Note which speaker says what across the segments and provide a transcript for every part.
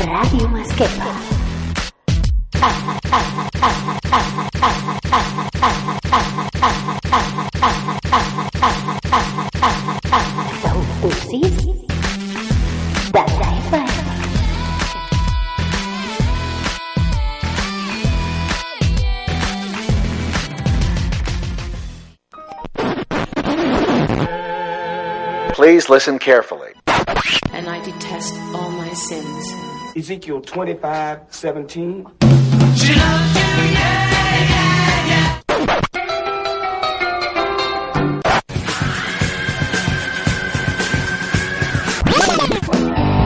Speaker 1: Radio Masquepa. Sou cursis de Zaifa.
Speaker 2: Please listen carefully.
Speaker 3: and I detest all my sins.
Speaker 4: Ezekiel 25, 17.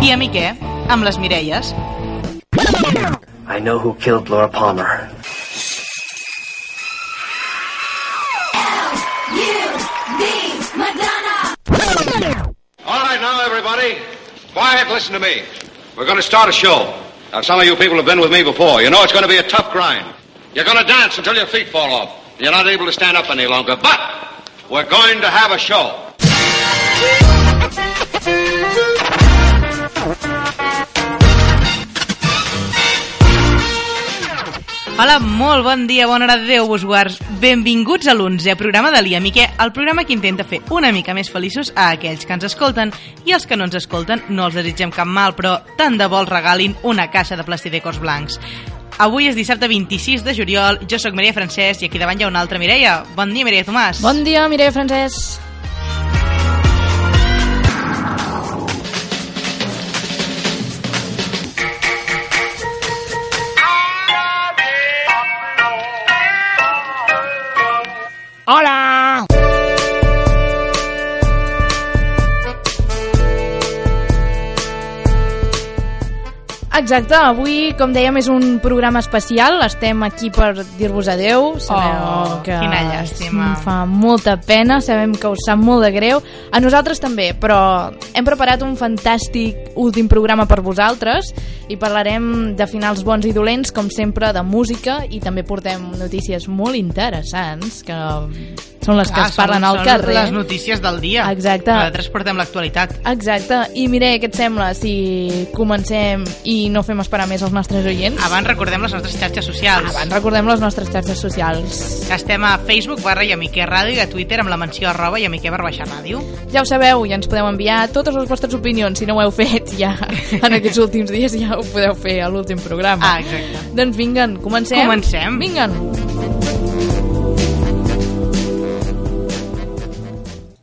Speaker 5: I a mi què? Amb les Mirelles.
Speaker 6: I know who killed Laura Palmer.
Speaker 7: All right, now, everybody, quiet, listen to me. We're going to start a show. Now, some of you people have been with me before. You know it's going to be a tough grind. You're going to dance until your feet fall off. You're not able to stand up any longer, but we're going to have a show.
Speaker 5: Hola, molt bon dia, bona hora, Déu vos guards. Benvinguts a l'11è programa de l'Ia Miquel, el programa que intenta fer una mica més feliços a aquells que ens escolten i els que no ens escolten no els desitgem cap mal, però tant de bo els regalin una caixa de plastidecors blancs. Avui és dissabte 26 de juliol, jo sóc Mireia Francesc i aquí davant hi ha una altra Mireia. Bon dia, Mireia Tomàs.
Speaker 8: Bon dia, Mireia Francesc.
Speaker 5: Ah,
Speaker 8: Exacte, avui, com dèiem, és un programa especial. Estem aquí per dir-vos adeu. Sabeu
Speaker 5: Oh,
Speaker 8: que
Speaker 5: quina llàstima.
Speaker 8: Em fa molta pena, sabem que us sap molt de greu. A nosaltres també, però hem preparat un fantàstic últim programa per vosaltres i parlarem de finals bons i dolents, com sempre, de música i també portem notícies molt interessants que són les que
Speaker 5: Ah,
Speaker 8: es parlen
Speaker 5: són-
Speaker 8: al
Speaker 5: són
Speaker 8: carrer. eh?
Speaker 5: Les notícies del dia.
Speaker 8: Exacte.
Speaker 5: Nosaltres portem l'actualitat.
Speaker 8: Exacte, i Mireia, què et sembla si comencem i no fem esperar més els nostres oients?
Speaker 5: Abans recordem les nostres xarxes socials.
Speaker 8: Abans recordem les nostres xarxes socials.
Speaker 5: Estem a Facebook barra Iamique Ràdio i a Twitter amb la menció arroba Iamique barra baixa ràdio.
Speaker 8: Ja ho sabeu, ja ens podeu enviar totes les vostres opinions. Si no ho heu fet ja en aquests últims dies, ja ho podeu fer a l'últim programa.
Speaker 5: Ah, exacte.
Speaker 8: Doncs vinguen, comencem.
Speaker 5: Comencem.
Speaker 8: Vinguen.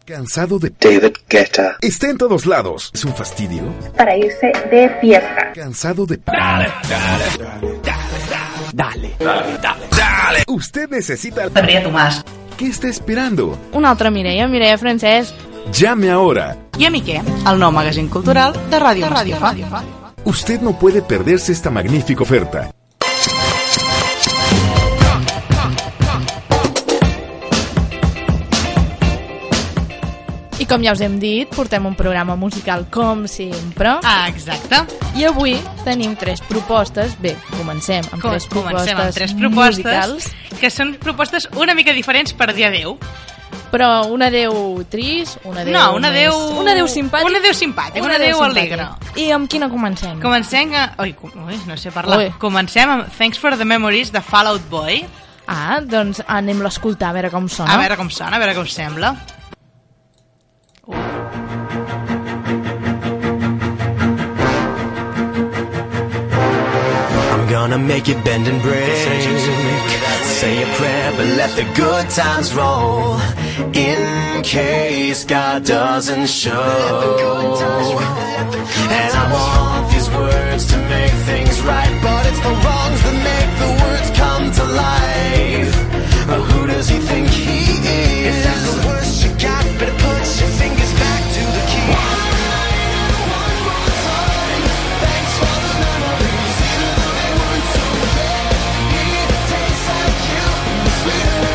Speaker 9: Cansado de...
Speaker 6: David Guetta.
Speaker 9: Está en todos lados. Es un fastidio.
Speaker 1: Para irse de fiesta.
Speaker 9: Cansado de... Dale, dale, dale, dale, dale, dale, Usted necesita...
Speaker 5: Maria Tomàs.
Speaker 9: ¿Qué está esperando?
Speaker 8: Una altra Mireia, Mireia Francesc.
Speaker 9: Llame ahora.
Speaker 5: I a mi què? El nou magazín cultural de Ràdio Masquefa.
Speaker 9: Usted no puede perderse esta magnífica oferta.
Speaker 8: I com ja us hem dit, portem un programa musical com sempre.
Speaker 5: Ah, exacte.
Speaker 8: I avui tenim tres propostes. Bé, comencem amb
Speaker 5: Com,
Speaker 8: tres propostes
Speaker 5: comencem amb tres propostes
Speaker 8: musicals.
Speaker 5: que són propostes una mica diferents per dir adeu.
Speaker 8: Però un adeu trist, un adeu...
Speaker 5: no, una adeu...
Speaker 8: Més... Un adeu simpàtic.
Speaker 5: Un adeu simpàtic, un, adeu, alegre.
Speaker 8: I amb quina comencem?
Speaker 5: Comencem a... Ui, com- ui, no sé parlar.
Speaker 8: Ui.
Speaker 5: Comencem amb Thanks for the Memories de Fallout Boy.
Speaker 8: Ah, doncs anem a l'escoltar, a veure com sona.
Speaker 5: A veure com sona, a veure com sembla.
Speaker 6: I'm gonna make it bend and break. Say a prayer, but let the good times roll. In case God doesn't show. And I want these words to make things right, but it's the wrongs that make the words come to life. But who does he think he is? If that's the worst you got, better put your fingers back to the key. Thanks for the memories. Even though they weren't so bad, it tastes like you. Sweeter.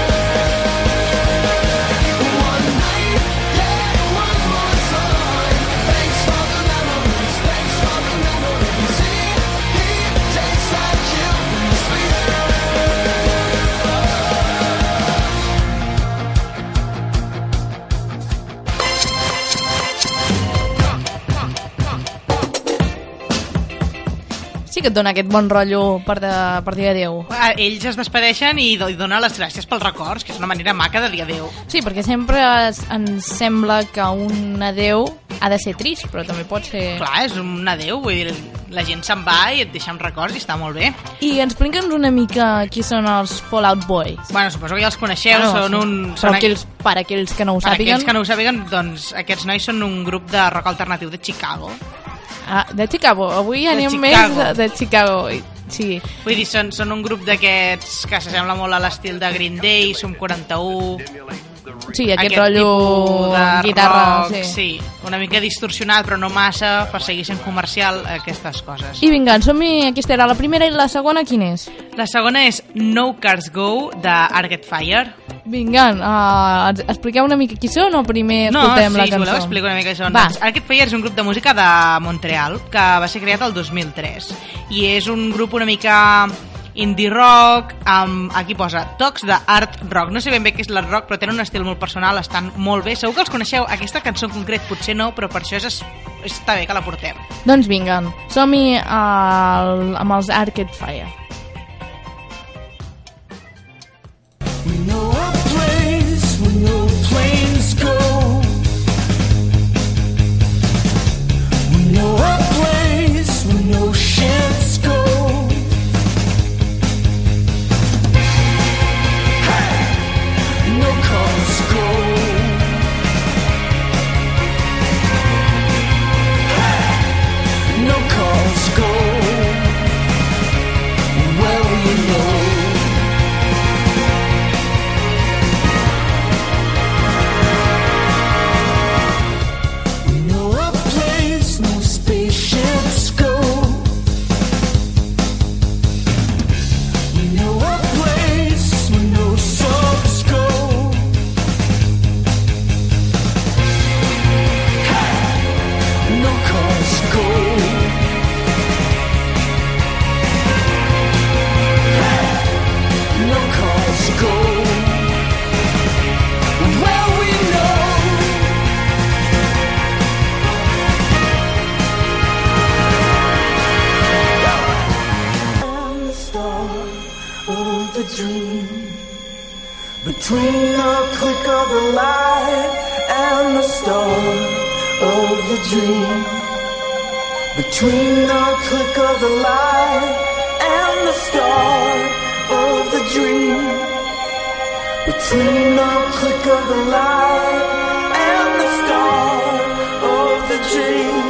Speaker 6: One night, yeah, one more time. Thanks for the memories. Thanks for the
Speaker 8: sí que et dona aquest bon rotllo per, de, per dir adeu.
Speaker 5: Ah, Ells es despedeixen i do- i donen les gràcies pels records, que és una manera maca de dir adeu.
Speaker 8: Sí, perquè sempre es- ens sembla que un adeu ha de ser trist, però també pot ser...
Speaker 5: Clar, és un adeu, vull dir, la gent se'n va i et deixa amb records i està molt bé.
Speaker 8: I explica'ns una mica qui són els Fallout Boys.
Speaker 5: Bueno, suposo que ja els coneixeu,
Speaker 8: Ah, no,
Speaker 5: són
Speaker 8: sí.
Speaker 5: un...
Speaker 8: Però
Speaker 5: Són
Speaker 8: aquells, per aquells que no ho
Speaker 5: Per
Speaker 8: sàpiguen...
Speaker 5: aquells que no ho sàpiguen, doncs aquests nois són un grup de rock alternatiu de Chicago.
Speaker 8: Ah, de Chicago, avui anem
Speaker 5: Chicago.
Speaker 8: més de, de Chicago. i- Sí.
Speaker 5: Vull dir, són, són un grup d'aquests que s'assembla molt a l'estil de Green Day, Sum 41...
Speaker 8: Sí, aquest, rotllo
Speaker 5: tipus de
Speaker 8: guitarra,
Speaker 5: rock,
Speaker 8: sí.
Speaker 5: sí. Una mica distorsionat, però no massa, per seguir sent comercial, aquestes coses.
Speaker 8: I vinga, som-hi, aquesta era la primera i la segona quina és?
Speaker 5: La segona és No Cars Go, de Arcade Fire.
Speaker 8: Vinga, uh, ens expliqueu una mica qui són o primer
Speaker 5: No,
Speaker 8: escoltem
Speaker 5: sí,
Speaker 8: la
Speaker 5: si
Speaker 8: cançó?
Speaker 5: voleu explico una mica això.
Speaker 8: Va,
Speaker 5: Doncs, Arcade Fire és un grup de música de Montreal que va ser creat el 2003 i és un grup una mica indie rock, amb, aquí posa tocs de art rock, no sé ben bé què és l'art rock però tenen un estil molt personal, estan molt bé segur que els coneixeu, aquesta cançó en concret potser no però per això és, està bé que la portem
Speaker 8: doncs vinga, som-hi al- amb els Arcade Fire.
Speaker 6: We know our place, we know planes go. We know our place, we know ships go. Hey! No cars go. Hey! No cars go. Well, we know. No a place, no spaceships go. We know a place, we know subs go. Hey! No cars go. Hey! No cars go. Well, we know. and the star of the dream. Between the click of the light and the star of the dream. Between the click of the light and the star of the dream. Between the click of the light and the star of the dream.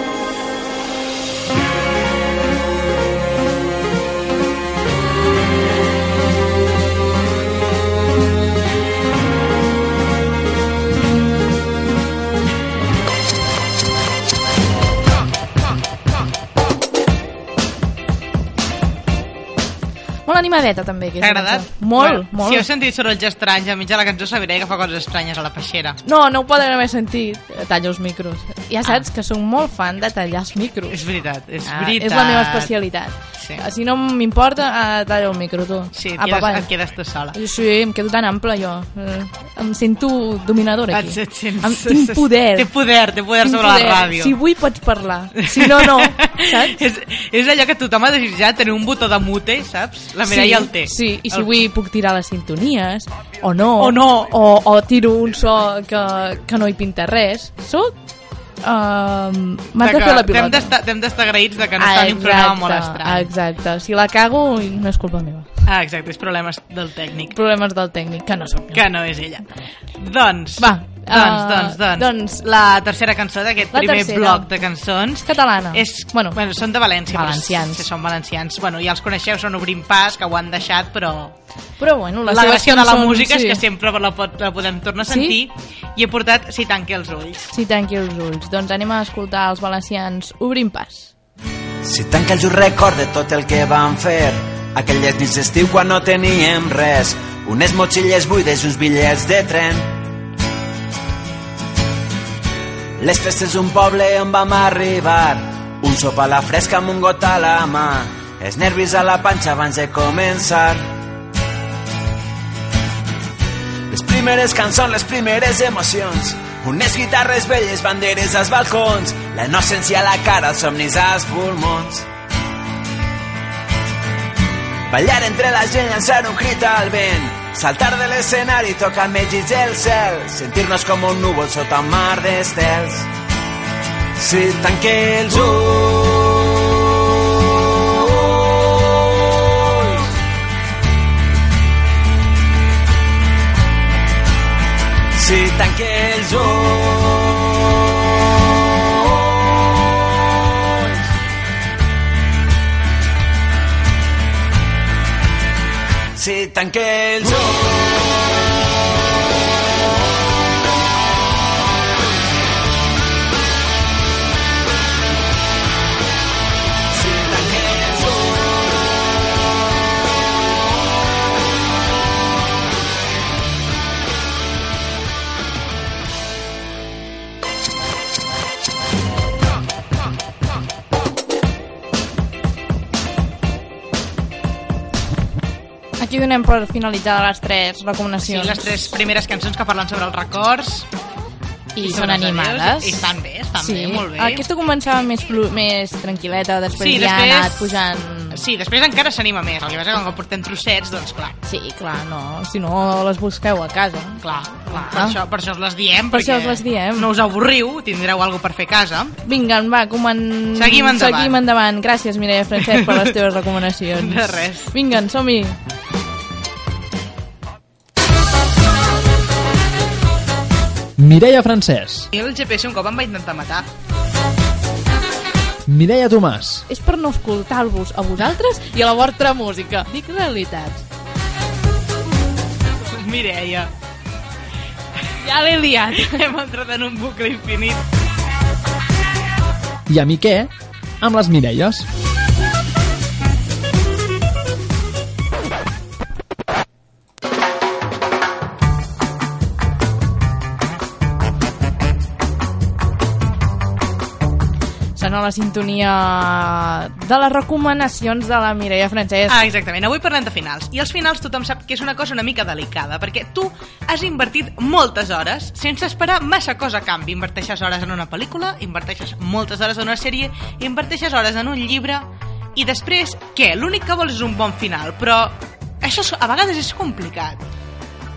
Speaker 8: Molt animadeta, també. aquesta
Speaker 5: T'ha agradat?
Speaker 8: cançó. Molt,
Speaker 5: Bueno,
Speaker 8: molt.
Speaker 5: Si heu sentit sorolls estranys a mig de la cançó sabré que fa coses estranyes a la peixera
Speaker 8: No, no ho poden haver sentit. eh, Tallo els micros. Ja saps que sóc molt fan de tallar els micros.
Speaker 5: Ah. és veritat, és
Speaker 8: Ah,
Speaker 5: veritat
Speaker 8: és la meva especialitat.
Speaker 5: Sí.
Speaker 8: Si no m'importa, eh, tallo el micro, tu.
Speaker 5: sí, et
Speaker 8: Apa,
Speaker 5: quedes,
Speaker 8: Ah, va.
Speaker 5: et quedes tu sola
Speaker 8: Sí, em quedo tan ample, jo. Eh, Em sento dominadora, aquí.
Speaker 5: Et- et sents-
Speaker 8: Em, tinc poder.
Speaker 5: Té poder, té poder
Speaker 8: Tinc
Speaker 5: sobre
Speaker 8: poder.
Speaker 5: la ràdio.
Speaker 8: Si vull pots parlar, si no, no, saps?
Speaker 5: és, és allò que tothom ha desitjat, tenir un botó de mute, saps? La Mireia el té.
Speaker 8: Sí, i si
Speaker 5: El-
Speaker 8: vull puc tirar les sintonies, o no.
Speaker 5: O no.
Speaker 8: O, o tiro un so que, que no hi pinta res. Soc... Uh, M'ha
Speaker 5: de
Speaker 8: de fer la
Speaker 5: que T'hem
Speaker 8: pilota.
Speaker 5: d'estar- T'hem d'estar agraïts de que no estan ni un programa molt estrany.
Speaker 8: exacte. Si la cago, no és culpa meva.
Speaker 5: Ah, exacte, és problemes del tècnic,
Speaker 8: Problemes del tècnic, que no sóc jo.
Speaker 5: que no és ella. Doncs,
Speaker 8: Va,
Speaker 5: doncs,
Speaker 8: eh,
Speaker 5: doncs, doncs,
Speaker 8: doncs,
Speaker 5: la tercera cançó d'aquest
Speaker 8: la
Speaker 5: primer
Speaker 8: tercera.
Speaker 5: bloc de cançons
Speaker 8: Catalana.
Speaker 5: És, bueno,
Speaker 8: Bueno.
Speaker 5: bueno, són de València. però
Speaker 8: Valencians.
Speaker 5: Sí, són valencians. Bueno, ja els coneixeu, són Obrint Pas, que ho han deixat, però
Speaker 8: Però bueno,
Speaker 5: la,
Speaker 8: les
Speaker 5: la
Speaker 8: seves
Speaker 5: gràcia de la
Speaker 8: cançons,
Speaker 5: música
Speaker 8: sí.
Speaker 5: és que sempre la, pot, la podem tornar a
Speaker 8: Sí?
Speaker 5: sentir i he portat Si tanque els ulls.
Speaker 8: Sí, tanqui els ulls. Doncs anem a escoltar els valencians Obrim pas.
Speaker 2: Si tanca els ulls recorde tot el que vam fer aquelles nits d'estiu quan no teníem res unes motxilles buides i uns bitllets de tren les festes d'un poble on vam arribar un sopar a la fresca amb un got a la mà els nervis a la panxa abans de començar les primeres cançons, les primeres emocions unes guitarres velles, banderes als balcons la innocència a la cara, els somnis als pulmons Ballar entre la gent, llançar un crit al vent, saltar de l'escenari, tocar amb ells el cel, sentir-nos com un núvol sota un mar d'estels. Si tanque els ulls, si tanque els ulls, si tanque els ulls,
Speaker 8: Aquí donem per finalitzada les tres
Speaker 5: Sí,
Speaker 8: recomanacions.
Speaker 5: les tres primeres cançons que parlen sobre els records
Speaker 8: I,
Speaker 5: sobre
Speaker 8: són
Speaker 5: els adiós,
Speaker 8: animades.
Speaker 5: I estan bé, estan
Speaker 8: sí.
Speaker 5: bé, molt bé.
Speaker 8: Aquesta començava més, flu més tranquil·leta, després
Speaker 5: Sí,
Speaker 8: ja
Speaker 5: després-
Speaker 8: ha anat pujant...
Speaker 5: Sí, després encara s'anima més. El que passa que quan portem trossets, doncs clar,
Speaker 8: Sí, clar, no. Si no, les busqueu a casa.
Speaker 5: clar, clar. Per,
Speaker 8: Ah.
Speaker 5: això, per això us les diem.
Speaker 8: Per això
Speaker 5: perquè
Speaker 8: us les diem.
Speaker 5: No us avorriu, tindreu alguna cosa per fer a casa.
Speaker 8: Vinga, va, comen...
Speaker 5: Seguim endavant.
Speaker 8: Seguim endavant. Gràcies, Mireia Francesc, per les teves recomanacions.
Speaker 5: De res.
Speaker 8: Vinga, som-hi.
Speaker 10: Mireia Francès,
Speaker 5: Jo el GPS un cop em va intentar matar.
Speaker 10: Mireia Tomàs,
Speaker 8: És per no escoltar-vos a vosaltres i a la vostra música. Dic realitat.
Speaker 5: Mireia,
Speaker 8: Ja l'he liat.
Speaker 5: hem entrat en un bucle infinit.
Speaker 10: i a mi què? Amb les Mireies.
Speaker 8: Sona la sintonia de les recomanacions de la Mireia Francesc.
Speaker 5: Ah, exactament. Avui parlem de finals. I els finals tothom sap que és una cosa una mica delicada, perquè tu has invertit moltes hores sense esperar massa cosa a canvi. Inverteixes hores en una pel·lícula, inverteixes moltes hores en una sèrie, inverteixes hores en un llibre... I després, què? L'únic que vols és un bon final, però això és- a vegades és complicat.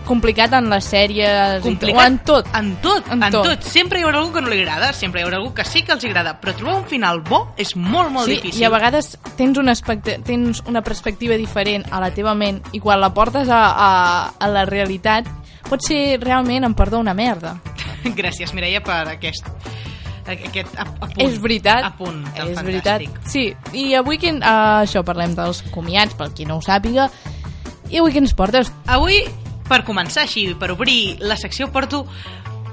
Speaker 8: Complicat en les sèries
Speaker 5: complicat.
Speaker 8: i o en tot.
Speaker 5: En tot, en,
Speaker 8: En
Speaker 5: en
Speaker 8: tot.
Speaker 5: tot. Sempre hi haurà algú que no li agrada, sempre hi haurà algú que sí que els agrada, però trobar un final bo és molt, molt
Speaker 8: sí,
Speaker 5: difícil.
Speaker 8: I a vegades tens una, expecta- tens una perspectiva diferent a la teva ment i quan la portes a, a, a la realitat pot ser realment, em perdó, una merda.
Speaker 5: Gràcies, Mireia, per aquest aquest ap- apunt.
Speaker 8: És veritat.
Speaker 5: Apunt tan
Speaker 8: és veritat.
Speaker 5: fantàstic.
Speaker 8: Sí, i avui que, uh, això parlem dels comiats, pel qui no ho sàpiga. I avui que ens portes?
Speaker 5: Avui, per començar així, per obrir la secció, porto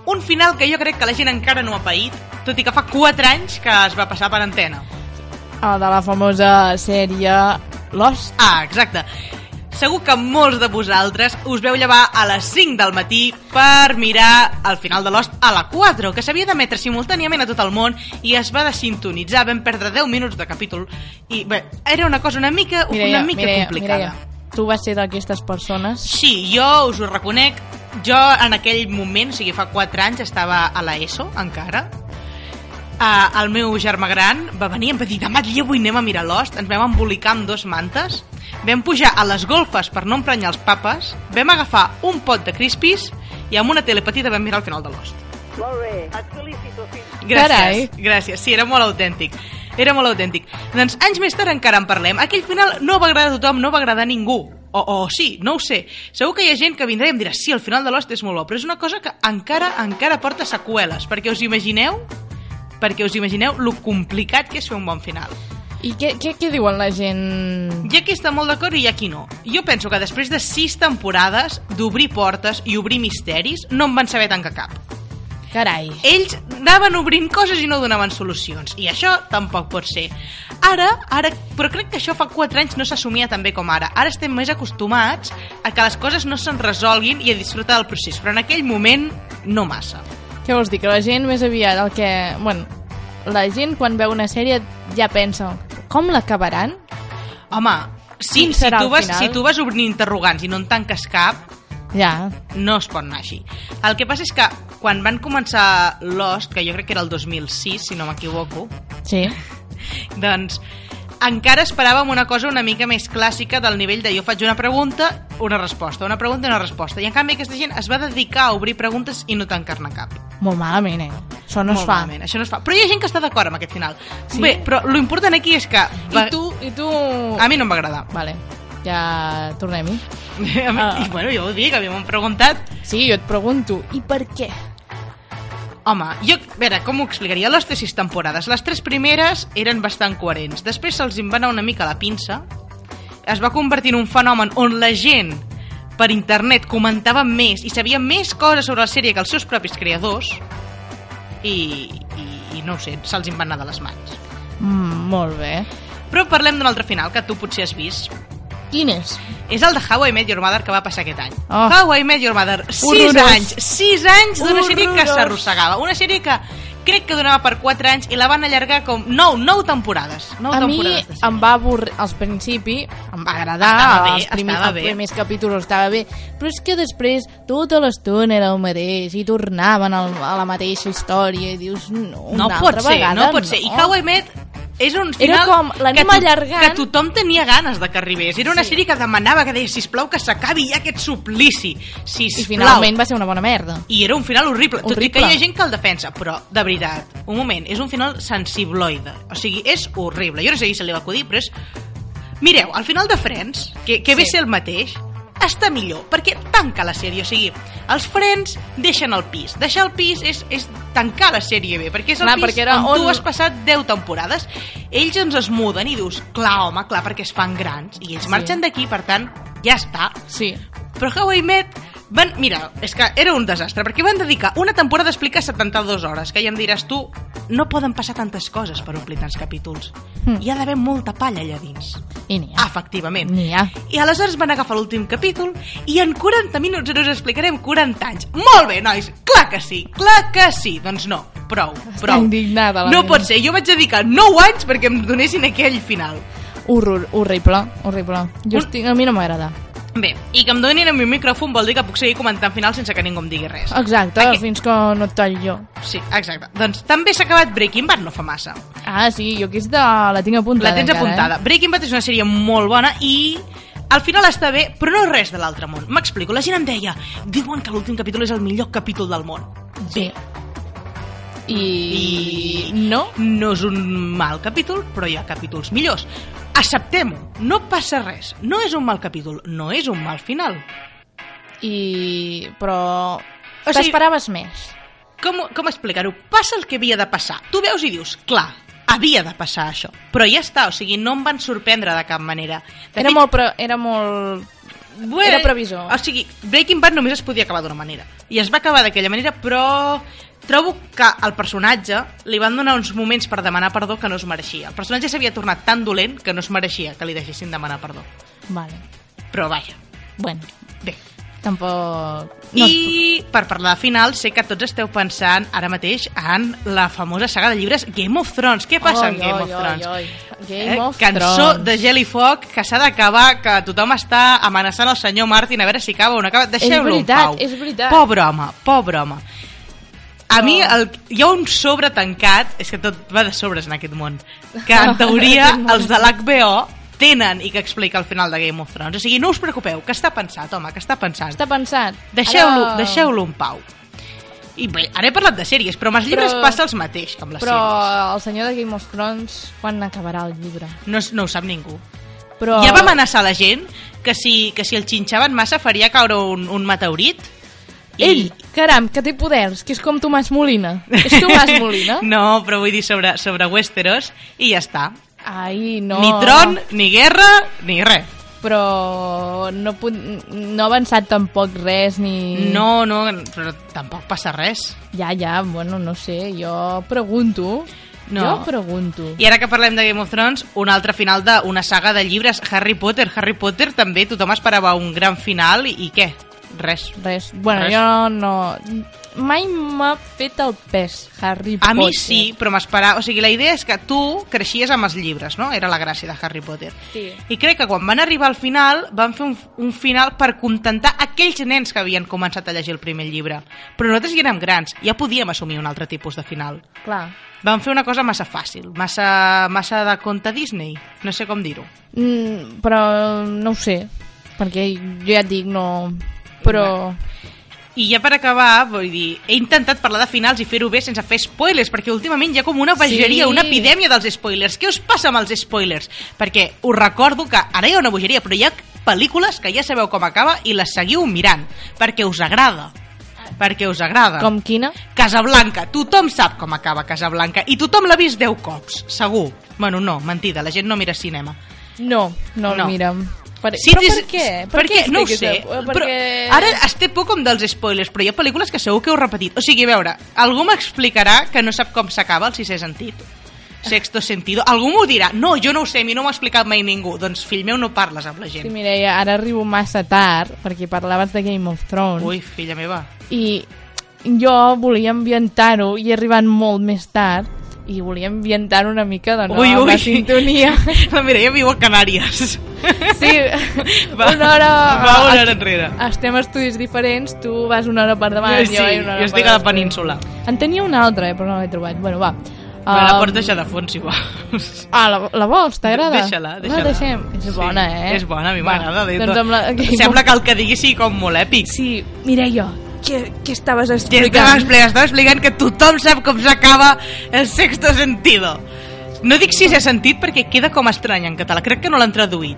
Speaker 5: un final que jo crec que la gent encara no ha paït, tot i que fa 4 anys que es va passar per antena.
Speaker 8: Uh, de la famosa sèrie Lost.
Speaker 5: Ah, exacte. Segur que molts de vosaltres us veu llevar a les 5 del matí per mirar el final de l'host a la 4, que s'havia d'emetre simultàniament a tot el món i es va desintonitzar, vam perdre 10 minuts de capítol i bé, era una cosa una mica,
Speaker 8: Mireia,
Speaker 5: una mica
Speaker 8: Mireia,
Speaker 5: complicada.
Speaker 8: Mireia, tu vas ser d'aquestes persones
Speaker 5: Sí, jo us ho reconec. Jo en aquell moment, o sigui, fa 4 anys, estava a l'ESO, encara. Uh, el meu germà gran va venir i em va dir demà dia avui anem a mirar l'host ens vam embolicar amb dos mantes vam pujar a les golfes per no emprenyar els papes vam agafar un pot de crispis i amb una tele petita vam mirar el final de l'host Gràcies,
Speaker 8: Carai.
Speaker 5: gràcies. Sí, era molt autèntic. Era molt autèntic. Doncs anys més tard encara en parlem. Aquell final no va agradar a tothom, no va agradar a ningú. O, o sí, no ho sé. Segur que hi ha gent que vindrà i em dirà sí, el final de l'host és molt bo, però és una cosa que encara encara porta seqüeles, perquè us imagineu perquè us imagineu lo complicat que és fer un bon final.
Speaker 8: i què, què, què diuen la gent?
Speaker 5: Hi ha qui està molt d'acord i hi ha qui no. Jo penso que després de sis temporades d'obrir portes i obrir misteris, no en van saber tancar cap
Speaker 8: Carai
Speaker 5: ells anaven obrint coses i no donaven solucions. I això tampoc pot ser. Ara, ara però crec que això fa 4 anys no s'assumia tan bé com ara. Ara estem més acostumats a que les coses no se'n resolguin i a disfrutar del procés, però en aquell moment no massa.
Speaker 8: Què vols dir? Que la gent més aviat el que... Bueno, la gent quan veu una sèrie ja pensa com l'acabaran?
Speaker 5: Home, sí,
Speaker 8: Quin
Speaker 5: si
Speaker 8: serà
Speaker 5: tu,
Speaker 8: el
Speaker 5: vas,
Speaker 8: final?
Speaker 5: si tu vas obrint interrogants i no en tanques cap,
Speaker 8: Ja.
Speaker 5: no es pot anar així. El que passa és que quan van començar Lost, que jo crec que era el 2006, si no m'equivoco,
Speaker 8: Sí.
Speaker 5: doncs encara esperàvem una cosa una mica més clàssica del nivell de jo faig una pregunta, una resposta, una pregunta i una resposta. I en canvi aquesta gent es va dedicar a obrir preguntes i no tancar-ne cap.
Speaker 8: Molt malament, eh? Això no es
Speaker 5: Molt
Speaker 8: fa.
Speaker 5: malament, això no es fa. Però hi ha gent que està d'acord amb aquest final. Sí? Bé, però lo important aquí és que...
Speaker 8: I tu, i tu...
Speaker 5: A mi no em va agradar.
Speaker 8: Vale, ja tornem-hi.
Speaker 5: A mi,
Speaker 8: Ah.
Speaker 5: I bueno, jo ho dic, a mi m'ho han preguntat.
Speaker 8: Sí, jo et pregunto, i per què?
Speaker 5: Home, jo, a veure, com ho explicaria? Les té sis temporades. Les tres primeres eren bastant coherents. Després se'ls en va anar una mica la pinça. Es va convertir en un fenomen on la gent per internet comentava més i sabia més coses sobre la sèrie que els seus propis creadors i, i, i no ho sé, se'ls en va anar de les mans.
Speaker 8: Mm, molt bé.
Speaker 5: Però parlem d'un altre final que tu potser has vist.
Speaker 8: Quin és?
Speaker 5: És el de How I Met Your Mother que va passar aquest any.
Speaker 8: Oh.
Speaker 5: How I Met Your Mother, 6
Speaker 8: Horrorós.
Speaker 5: anys, 6 anys d'una sèrie que
Speaker 8: Horrorós.
Speaker 5: s'arrossegava. Una sèrie que crec que donava per 4 anys i la van allargar com 9, 9 temporades. 9
Speaker 8: A mi
Speaker 5: temporades de sèrie.
Speaker 8: em va avorrir, al principi, em va agradar,
Speaker 5: Ah, Estava bé,
Speaker 8: els, primers,
Speaker 5: estava bé.
Speaker 8: els primers capítols estava bé, però és que després tota l'estona era el mateix i tornaven al, a la mateixa història i dius, no, una
Speaker 5: no
Speaker 8: altra
Speaker 5: pot ser,
Speaker 8: vegada,
Speaker 5: no pot ser. I How I Met és un final
Speaker 8: com, l'anem
Speaker 5: que, to-
Speaker 8: allargant.
Speaker 5: que tothom tenia ganes de que arribés. Era una sí. sèrie que demanava que deia, sisplau, que s'acabi ja aquest suplici. Sisplau.
Speaker 8: I finalment va ser una bona merda.
Speaker 5: i era un final horrible, horrible, tot i que hi
Speaker 8: Horrible.
Speaker 5: ha gent que el defensa, però, de veritat, un moment, és un final sensibloide, o sigui, és horrible. Jo no sé qui se li va acudir, però és... Mireu, al final de Friends, que, que sí. ve a
Speaker 8: Sí.
Speaker 5: ser el mateix, està millor, perquè tanca la sèrie, o sigui, els Friends deixen el pis. Deixar el pis és, és tancar la sèrie bé, perquè és el
Speaker 8: Clar,
Speaker 5: pis
Speaker 8: perquè era
Speaker 5: on, tu
Speaker 8: on-
Speaker 5: has passat 10 temporades, ells ens es muden i dius, clar, home, clar, perquè es fan grans, i ells
Speaker 8: Sí.
Speaker 5: sí. marxen d'aquí, per tant, ja està,
Speaker 8: Sí.
Speaker 5: però How I Met van, mira, és que era un desastre, perquè van dedicar una temporada a explicar 72 hores, que ja em diràs tu, no poden passar tantes coses per omplir tants capítols.
Speaker 8: Mm.
Speaker 5: Mm. Hi ha d'haver molta palla allà dins.
Speaker 8: I n'hi ha.
Speaker 5: Ah, efectivament.
Speaker 8: N'hi ha.
Speaker 5: I aleshores van agafar l'últim capítol i en 40 minuts ara us explicarem 40 anys. Molt bé, nois, clar que sí, clar que sí. Doncs no, prou, prou.
Speaker 8: indignada, la
Speaker 5: No
Speaker 8: meva.
Speaker 5: pot ser, jo vaig dedicar 9 anys perquè em donessin aquell final.
Speaker 8: Horror, horrible, horrible.
Speaker 5: Un-
Speaker 8: Jo estic, a mi no m'agrada.
Speaker 5: Bé, i que em donin el meu micròfon vol dir que puc seguir comentant final sense que ningú em digui res.
Speaker 8: Exacte,
Speaker 5: Aquest-
Speaker 8: fins que no et talli jo.
Speaker 5: Sí, exacte. Doncs també s'ha acabat Breaking Bad no fa massa.
Speaker 8: Ah, sí, jo aquesta la tinc apuntada.
Speaker 5: La tens
Speaker 8: encara,
Speaker 5: apuntada.
Speaker 8: Eh?
Speaker 5: Breaking Bad és una sèrie molt bona i al final està bé, però no res de l'altre món. M'explico, la gent em deia diuen que l'últim capítol és el millor capítol del món.
Speaker 8: Sí. I...
Speaker 5: I-
Speaker 8: No?
Speaker 5: No és un mal capítol, però hi ha capítols millors. Acceptem-ho, no passa res. No és un mal capítol, no és un mal final.
Speaker 8: I... Però...
Speaker 5: O sigui-
Speaker 8: T'esperaves més.
Speaker 5: Com, com explicar-ho? Passa el que havia de passar. Tu veus i dius, clar, havia de passar això. Però ja està, o sigui, no em van sorprendre de cap manera. De
Speaker 8: Era
Speaker 5: fet,
Speaker 8: molt... Pre... Era molt...
Speaker 5: Bueno,
Speaker 8: Era previsor.
Speaker 5: O sigui, Breaking Bad només es podia acabar d'una manera. I es va acabar d'aquella manera, però trobo que al personatge li van donar uns moments per demanar perdó que no es mereixia. El personatge s'havia tornat tan dolent que no es mereixia que li deixessin demanar perdó.
Speaker 8: Vale.
Speaker 5: Però vaja,
Speaker 8: Bueno,
Speaker 5: bé.
Speaker 8: tampoc... No
Speaker 5: I per parlar de final, sé que tots esteu pensant ara mateix en la famosa saga de llibres Game of Thrones. Què passa amb Game of Thrones? Eh,
Speaker 8: Oi, oi. Game of
Speaker 5: cançó
Speaker 8: Thrones.
Speaker 5: de gel i foc que s'ha d'acabar, que tothom està amenaçant el senyor Martin a veure si acaba o no acaba. Deixeu-lo en
Speaker 8: veritat,
Speaker 5: pau.
Speaker 8: és veritat.
Speaker 5: Pobre home, pobre home. A mi el, hi ha un sobre tancat, és que tot va de sobres en aquest món, que en teoria
Speaker 8: Aquest món.
Speaker 5: els de l'HBO tenen i que explica el final de Game of Thrones. O sigui, no us preocupeu, que està pensat, home, que està pensat.
Speaker 8: Està pensat.
Speaker 5: Deixeu-lo
Speaker 8: Ara-
Speaker 5: deixeu en pau. I bé, ara he parlat de sèries, però amb els llibres
Speaker 8: Però-
Speaker 5: passa els mateix que amb les
Speaker 8: Però
Speaker 5: sèries.
Speaker 8: el senyor de Game of Thrones, quan acabarà el llibre?
Speaker 5: No, es- no ho sap ningú.
Speaker 8: Però...
Speaker 5: Ja va amenaçar la gent que si, que si el xinxaven massa faria caure un, un meteorit.
Speaker 8: Ell, caram, que té poders, que és com Tomàs Molina. És Tomàs Molina?
Speaker 5: no, però vull dir sobre, sobre Westeros i ja està.
Speaker 8: Ai,
Speaker 5: No.
Speaker 8: no.
Speaker 5: Ni tron, ni guerra, ni res.
Speaker 8: Però no, pot, no ha avançat tampoc res, ni...
Speaker 5: No, no, però tampoc passa res.
Speaker 8: Ja, ja, bueno, no sé, jo pregunto.
Speaker 5: No.
Speaker 8: Jo pregunto.
Speaker 5: I ara que parlem de Game of Thrones, un altre final d'una saga de llibres, Harry Potter. Harry Potter també, tothom esperava un gran final i, i què? Res.
Speaker 8: Res. Bueno,
Speaker 5: Res.
Speaker 8: jo no... Mai m'ha fet el pes, Harry
Speaker 5: A
Speaker 8: Potter.
Speaker 5: mi sí, però m'esperava... O sigui, la idea és que tu creixies amb els llibres, no? Era la gràcia de Harry Potter.
Speaker 8: Sí.
Speaker 5: I crec que quan van arribar al final, van fer un, un final per contentar aquells nens que havien començat a llegir el primer llibre. Però nosaltres ja érem grans, ja podíem assumir un altre tipus de final.
Speaker 8: Clar.
Speaker 5: Van fer una cosa massa fàcil, massa, massa de conte Disney, no sé com dir-ho.
Speaker 8: Mm, però no ho sé, perquè jo ja et dic, no... Però...
Speaker 5: I ja per acabar, vull dir, he intentat parlar de finals i fer-ho bé sense fer spoilers, perquè últimament hi ha com una bogeria,
Speaker 8: Sí.
Speaker 5: una epidèmia dels spoilers. Què us passa amb els spoilers? Perquè us recordo que ara hi ha una bogeria, però hi ha pel·lícules que ja sabeu com acaba i les seguiu mirant, perquè us agrada. Perquè us agrada.
Speaker 8: Com quina?
Speaker 5: Casablanca. Tothom sap com acaba Casablanca i tothom l'ha vist 10 cops, segur. Bueno, no, mentida, la gent no mira cinema.
Speaker 8: No, no,
Speaker 5: No.
Speaker 8: no. mira'm. Per,
Speaker 5: Sí,
Speaker 8: però
Speaker 5: dis-
Speaker 8: per què? Per,
Speaker 5: perquè,
Speaker 8: què
Speaker 5: no ho sé.
Speaker 8: expliques- eh,
Speaker 5: Però
Speaker 8: Perquè...
Speaker 5: ara es té por com dels spoilers, però hi ha pel·lícules que segur que heu repetit. O sigui, a veure, algú m'explicarà que no sap com s'acaba el sisè sentit. Sexto sentido. Algú m'ho dirà. No, jo no ho sé, a mi no m'ho ha explicat mai ningú. Doncs, fill meu, no parles amb la
Speaker 8: Sí,
Speaker 5: gent.
Speaker 8: Mireia, ara arribo massa tard, perquè parlaves de Game of Thrones,
Speaker 5: Ui, filla meva.
Speaker 8: i jo volia ambientar-ho, i he arribat molt més tard, i volia ambientar una mica de nou
Speaker 5: ui, ui.
Speaker 8: la sintonia.
Speaker 5: La Mireia viu a Canàries.
Speaker 8: Sí,
Speaker 5: Va,
Speaker 8: una hora...
Speaker 5: va una hora enrere.
Speaker 8: Estem a estudis diferents, tu vas una hora per davant,
Speaker 5: sí,
Speaker 8: jo vaig una hora
Speaker 5: jo estic
Speaker 8: per
Speaker 5: a la
Speaker 8: darrere.
Speaker 5: península.
Speaker 8: En tenia una altra, eh, però no l'he trobat. Bueno, va.
Speaker 5: Me la
Speaker 8: Um,
Speaker 5: pots deixar de fons, si vols.
Speaker 8: Ah, la, la vols? T'agrada?
Speaker 5: Deixa-la, deixa-la.
Speaker 8: La deixem. És bona, eh?
Speaker 5: És bona, a mi
Speaker 8: Va,
Speaker 5: m'agrada. de
Speaker 8: Doncs
Speaker 5: tot.
Speaker 8: amb la...
Speaker 5: Sembla que el que digui sigui com molt èpic.
Speaker 8: Sí, mira jo. Què, què estaves
Speaker 5: Te estava explicant, estava explicant que tothom sap com s'acaba el sexto sentido. No dic sisè sentit perquè queda com estrany en català. Crec que no l'han traduït.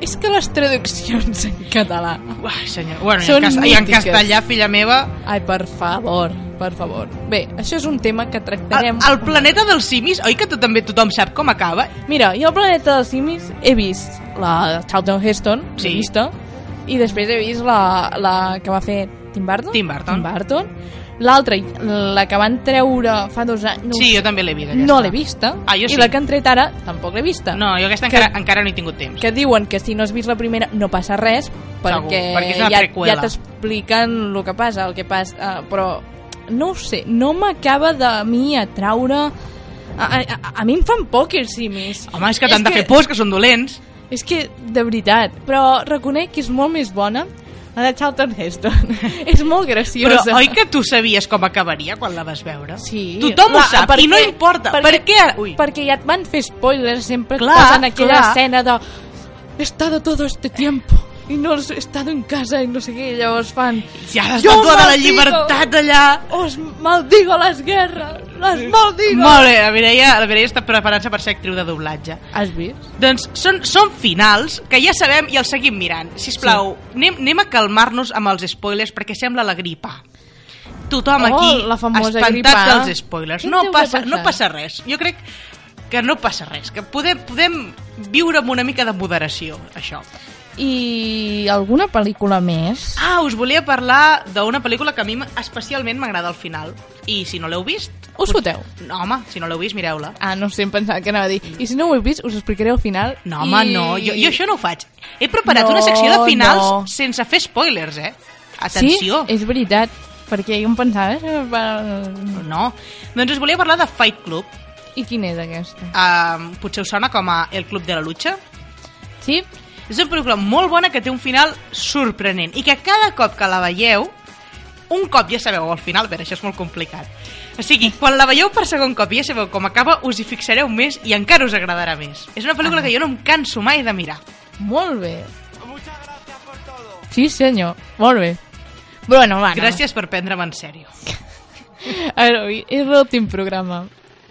Speaker 8: És que les traduccions en català...
Speaker 5: Uai, senyor. Bueno, i en,
Speaker 8: Són
Speaker 5: cas- i en
Speaker 8: mítiques.
Speaker 5: castellà, filla meva...
Speaker 8: Ai, per favor, per favor. Bé, això és un tema que
Speaker 5: El,
Speaker 8: tractarem...
Speaker 5: Ah, el planeta dels simis, oi que tu també tothom sap com acaba?
Speaker 8: Mira, jo al Planeta dels Simis he vist la Charlton Heston,
Speaker 5: Sí.
Speaker 8: sí. vista, i després he vist la, la que va fer Tim Burton.
Speaker 5: Tim Burton.
Speaker 8: Tim Burton. L'altra, la que van treure fa dos anys... No, ho
Speaker 5: sí,
Speaker 8: sé,
Speaker 5: jo també l'he vist.
Speaker 8: no
Speaker 5: aquesta.
Speaker 8: l'he vista.
Speaker 5: Ah, jo sí.
Speaker 8: I la que han tret ara tampoc l'he vista.
Speaker 5: No, jo aquesta
Speaker 8: Que-
Speaker 5: encara, encara no he tingut temps.
Speaker 8: Que diuen que si no has vist la primera no passa res, perquè,
Speaker 5: perquè és una
Speaker 8: ja,
Speaker 5: preqüela.
Speaker 8: ja t'expliquen el que passa, el que passa, eh, però no ho sé, no m'acaba de mi atraure... A, a, a, a mi em fan por els simis.
Speaker 5: Home, és que t'han de fer pors, que són dolents.
Speaker 8: És que, de veritat, però reconec que és molt més bona la de Charlton Heston. és molt
Speaker 5: Però
Speaker 8: graciosa.
Speaker 5: oi que tu sabies com acabaria quan la vas veure?
Speaker 8: Sí.
Speaker 5: Tothom ho
Speaker 8: Clar,
Speaker 5: sap i no importa. Per, què? Ui.
Speaker 8: Perquè ja et van fer spoilers, sempre
Speaker 5: Clar,
Speaker 8: clar, posen aquella
Speaker 5: clar.
Speaker 8: escena de he estado todo este tiempo i no he estado en casa i no sé què, i llavors fan
Speaker 5: Hi ha
Speaker 8: Jo
Speaker 5: l'estatua de la
Speaker 8: maldigo.
Speaker 5: llibertat allà.
Speaker 8: os maldigo les guerres, les maldigo.
Speaker 5: Molt bé, la Mireia, la Mireia està preparant-se per ser actriu de doblatge.
Speaker 8: Has vist?
Speaker 5: Doncs són, són finals que ja sabem i els seguim mirant. Si plau, sí. anem, anem a calmar-nos amb els spoilers perquè sembla la gripa. Tothom
Speaker 8: Oh,
Speaker 5: aquí
Speaker 8: la famosa
Speaker 5: espantat
Speaker 8: gripa.
Speaker 5: dels spoilers.
Speaker 8: Què
Speaker 5: No
Speaker 8: deu
Speaker 5: passa,
Speaker 8: haver
Speaker 5: no
Speaker 8: passat?
Speaker 5: passa res. Jo crec que no passa res, que podem, podem viure amb una mica de moderació, això.
Speaker 8: I alguna pel·lícula més?
Speaker 5: Ah, us volia parlar d'una pel·lícula que a mi especialment m'agrada al final. I si no l'heu vist...
Speaker 8: Us foteu?
Speaker 5: No, home, si no l'heu vist, mireu-la.
Speaker 8: Ah, no sé, em pensava que anava a dir. I si no ho heu vist, us ho explicaré al final.
Speaker 5: No, home,
Speaker 8: i...
Speaker 5: no, jo, jo això no ho faig. He preparat
Speaker 8: No,
Speaker 5: una secció de finals
Speaker 8: no.
Speaker 5: sense fer spoilers, eh? Atenció.
Speaker 8: Sí, Eh. és veritat, perquè jo em pensava... eh, per-
Speaker 5: No. Doncs us volia parlar de Fight Club.
Speaker 8: I quina és aquesta?
Speaker 5: Um, potser us sona com a El Club de la Lucha.
Speaker 8: Sí?
Speaker 5: És una pel·lícula molt bona que té un final sorprenent i que cada cop que la veieu, un cop ja sabeu el final, però això és molt complicat. O sigui, quan la veieu per segon cop i ja sabeu com acaba, us hi fixareu més i encara us agradarà més. És una
Speaker 8: Ah.
Speaker 5: pel·lícula que jo no em canso mai de mirar.
Speaker 8: Molt bé. Sí, senyor. Molt bé. Bueno, va, Ah, no.
Speaker 5: Gràcies per prendre'm en sèrio.
Speaker 8: A veure, avui és l'últim programa.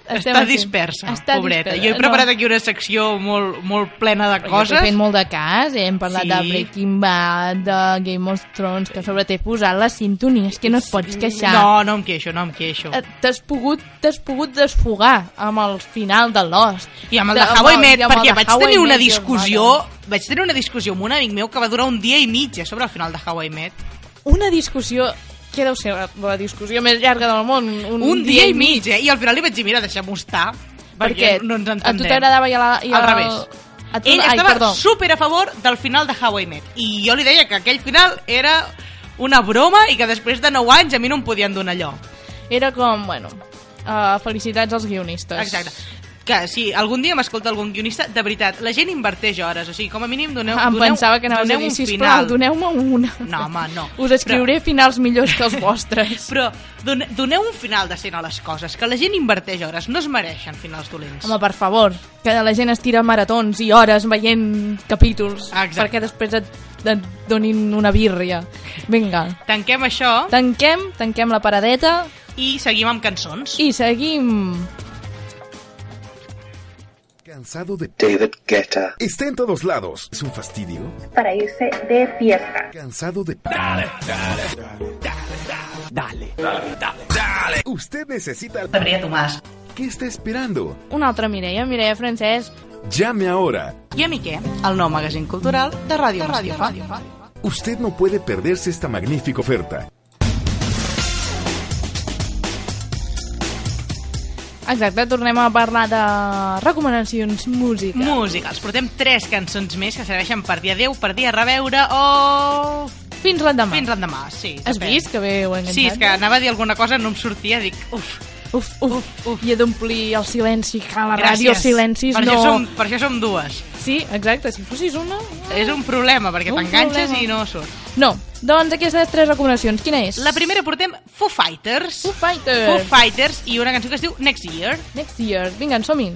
Speaker 5: Està
Speaker 8: aquí.
Speaker 5: dispersa, Està pobreta. Dispersa. Jo he preparat aquí una secció molt, molt plena de
Speaker 8: Perquè
Speaker 5: coses.
Speaker 8: t'he fet molt de cas, eh? hem parlat
Speaker 5: Sí.
Speaker 8: sí. de Breaking Bad, de Game of Thrones, que a sobre t'he posat la sintonia, és que no et pots queixar.
Speaker 5: No, no em queixo, no em queixo.
Speaker 8: Eh, T'has pogut, t'has pogut desfogar amb el final de Lost.
Speaker 5: I amb el de
Speaker 8: amb
Speaker 5: How I
Speaker 8: el-
Speaker 5: Met,
Speaker 8: i amb el
Speaker 5: perquè
Speaker 8: de
Speaker 5: vaig
Speaker 8: How I
Speaker 5: tenir una
Speaker 8: Met doncs. Your
Speaker 5: discussió vaig tenir una discussió amb un amic meu que va durar un dia i mig a sobre el final de How I Met.
Speaker 8: Mother. Una discussió... Què deu ser la, la discussió més llarga del món?
Speaker 5: Un, dia, i mig, eh? I al final li vaig dir, mira, deixem-ho estar, perquè
Speaker 8: Perquè
Speaker 5: no ens
Speaker 8: a
Speaker 5: entenem.
Speaker 8: tu t'agradava i a la... I
Speaker 5: Al
Speaker 8: el-
Speaker 5: revés.
Speaker 8: A tu,
Speaker 5: Ell
Speaker 8: ai,
Speaker 5: estava
Speaker 8: perdó.
Speaker 5: super a favor del final de How I Met. I jo li deia que aquell final era una broma i que després de 9 anys a mi no em podien donar allò.
Speaker 8: Era com, bueno, uh, felicitats als guionistes.
Speaker 5: Exacte. Que si algun dia m'escolta algun guionista, de veritat, la gent inverteix hores, o sigui, com a mínim doneu,
Speaker 8: em
Speaker 5: doneu,
Speaker 8: pensava que anaves a
Speaker 5: doneu
Speaker 8: dir,
Speaker 5: un
Speaker 8: sisplau,
Speaker 5: final.
Speaker 8: doneu-me una.
Speaker 5: No, home, no.
Speaker 8: Us escriuré finals millors que els vostres.
Speaker 5: Però don doneu un final decent a les coses, que la gent inverteix hores, no es mereixen finals dolents.
Speaker 8: Home, per favor, que la gent es tira maratons i hores veient capítols
Speaker 5: Exacte.
Speaker 8: perquè després et, et donin una birria. Vinga,
Speaker 5: Tanquem això
Speaker 8: tanquem, tanquem la paradeta
Speaker 5: i seguim amb cançons.
Speaker 8: i seguim.
Speaker 9: Cansado de...
Speaker 2: David Guetta.
Speaker 9: Está en todos lados. Es un fastidio.
Speaker 1: para irse de fiesta.
Speaker 9: Cansado de...
Speaker 2: Dale.
Speaker 9: Usted necesita...
Speaker 5: Gabriel Tomàs.
Speaker 9: ¿Qué está esperando?
Speaker 8: Una altra Mireia, Mireia Francesc.
Speaker 9: Llame ahora.
Speaker 5: I a mi què? El nou magazín cultural de Ràdio Masquefa.
Speaker 9: Usted no puede perderse esta magnífica oferta.
Speaker 8: Exacte, tornem a parlar de recomanacions música.
Speaker 5: Musicals. Portem tres cançons més que serveixen per dir adeu, per dir a reveure o...
Speaker 8: Fins l'endemà.
Speaker 5: Fins l'endemà, sí.
Speaker 8: Has
Speaker 5: depèn.
Speaker 8: vist que bé ho he enganxat?
Speaker 5: Sí, és que anava a dir alguna cosa, no em sortia, dic... Uf,
Speaker 8: Uf, uf, uf. I he d'omplir el silenci, que a la
Speaker 5: gràcies.
Speaker 8: ràdio silencis
Speaker 5: per
Speaker 8: no...
Speaker 5: Això som, per això som dues.
Speaker 8: Sí, exacte, si fossis una...
Speaker 5: És un problema, perquè
Speaker 8: Un
Speaker 5: t'enganxes
Speaker 8: problema.
Speaker 5: i no surt.
Speaker 8: No, doncs aquestes tres recomanacions, quina és?
Speaker 5: La primera portem Foo Fighters.
Speaker 8: Foo Fighters.
Speaker 5: Foo Fighters i una cançó que es diu Next Year.
Speaker 8: Next year. Vinga, som -hi.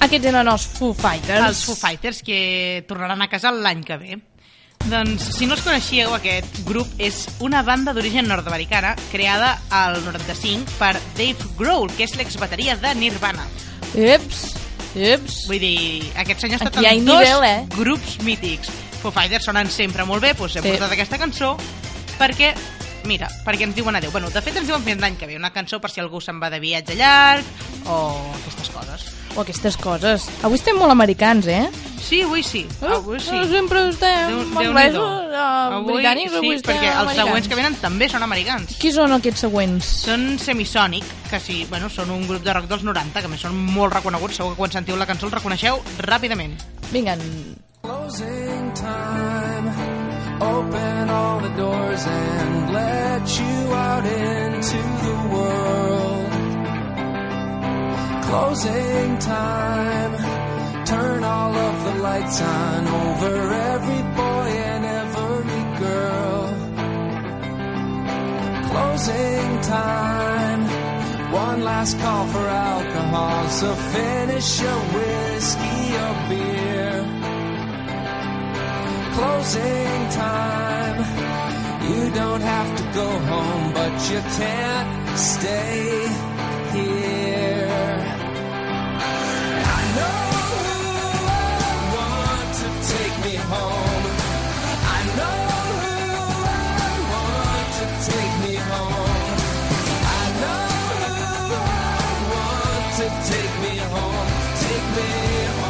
Speaker 8: Aquests eren els Foo Fighters.
Speaker 5: Els Foo Fighters que tornaran a casa l'any que ve. Doncs, si no els coneixíeu, aquest grup és una banda d'origen nord-americana creada al 95 per Dave Grohl, que és l'exbateria de Nirvana.
Speaker 8: Eps, eps.
Speaker 5: Vull dir, aquest senyor ha estat
Speaker 8: Aquí hi ha
Speaker 5: en dos
Speaker 8: nivell, eh?
Speaker 5: grups mítics. Foo Fighters sonen sempre molt bé, doncs hem
Speaker 8: Sí.
Speaker 5: portat aquesta cançó perquè, mira, perquè ens diuen adeu. Bueno, de fet ens diuen fins l'any que ve, una cançó per si algú se'n va de viatge llarg o aquestes coses.
Speaker 8: O Oh, aquestes coses. Avui estem molt americans, eh?
Speaker 5: Sí, avui sí, avui sí.
Speaker 8: Eh, Sempre estem
Speaker 5: Déu-
Speaker 8: Déu,
Speaker 5: Déu-n'hi-do.
Speaker 8: anglesos, eh, britànics,
Speaker 5: sí,
Speaker 8: avui estem
Speaker 5: perquè els
Speaker 8: americans.
Speaker 5: següents que venen també són americans.
Speaker 8: Qui són aquests següents?
Speaker 5: Són Semisonic, que sí, bueno, són un grup de rock dels 90, que a més són molt reconeguts, segur que quan sentiu la cançó els reconeixeu ràpidament.
Speaker 8: Vinga,
Speaker 6: Closing time. Open all the doors and let you out into the world. Closing time. Turn all of the lights on over every boy and every girl. Closing time. One last call for alcohol, so finish your whiskey or beer closing time. You don't have to go home, but you can't stay here. I know who I want to take me home. I know who I want to take me home. I know who I want to take me home. Take me home.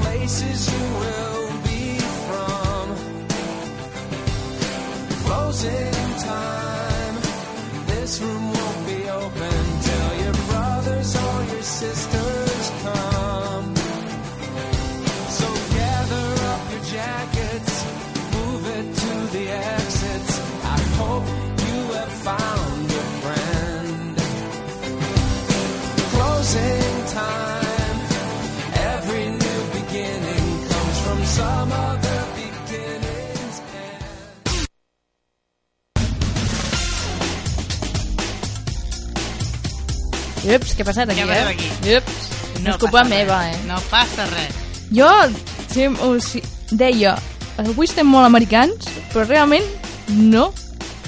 Speaker 6: places you will be from. Closing time. This room won't be open till your brothers or your sisters come. So gather up your jackets, move it to the exits. I hope you have found a friend. Closing time. Every new beginning comes from some other beginning's end.
Speaker 8: Ups, què ha passat aquí,
Speaker 5: Què ha passat
Speaker 8: eh?
Speaker 5: aquí?
Speaker 8: Ups, no és culpa
Speaker 5: passa
Speaker 8: meva,
Speaker 5: res.
Speaker 8: eh?
Speaker 5: No passa res.
Speaker 8: Jo sí, o sigui, deia, avui estem molt americans, però realment no.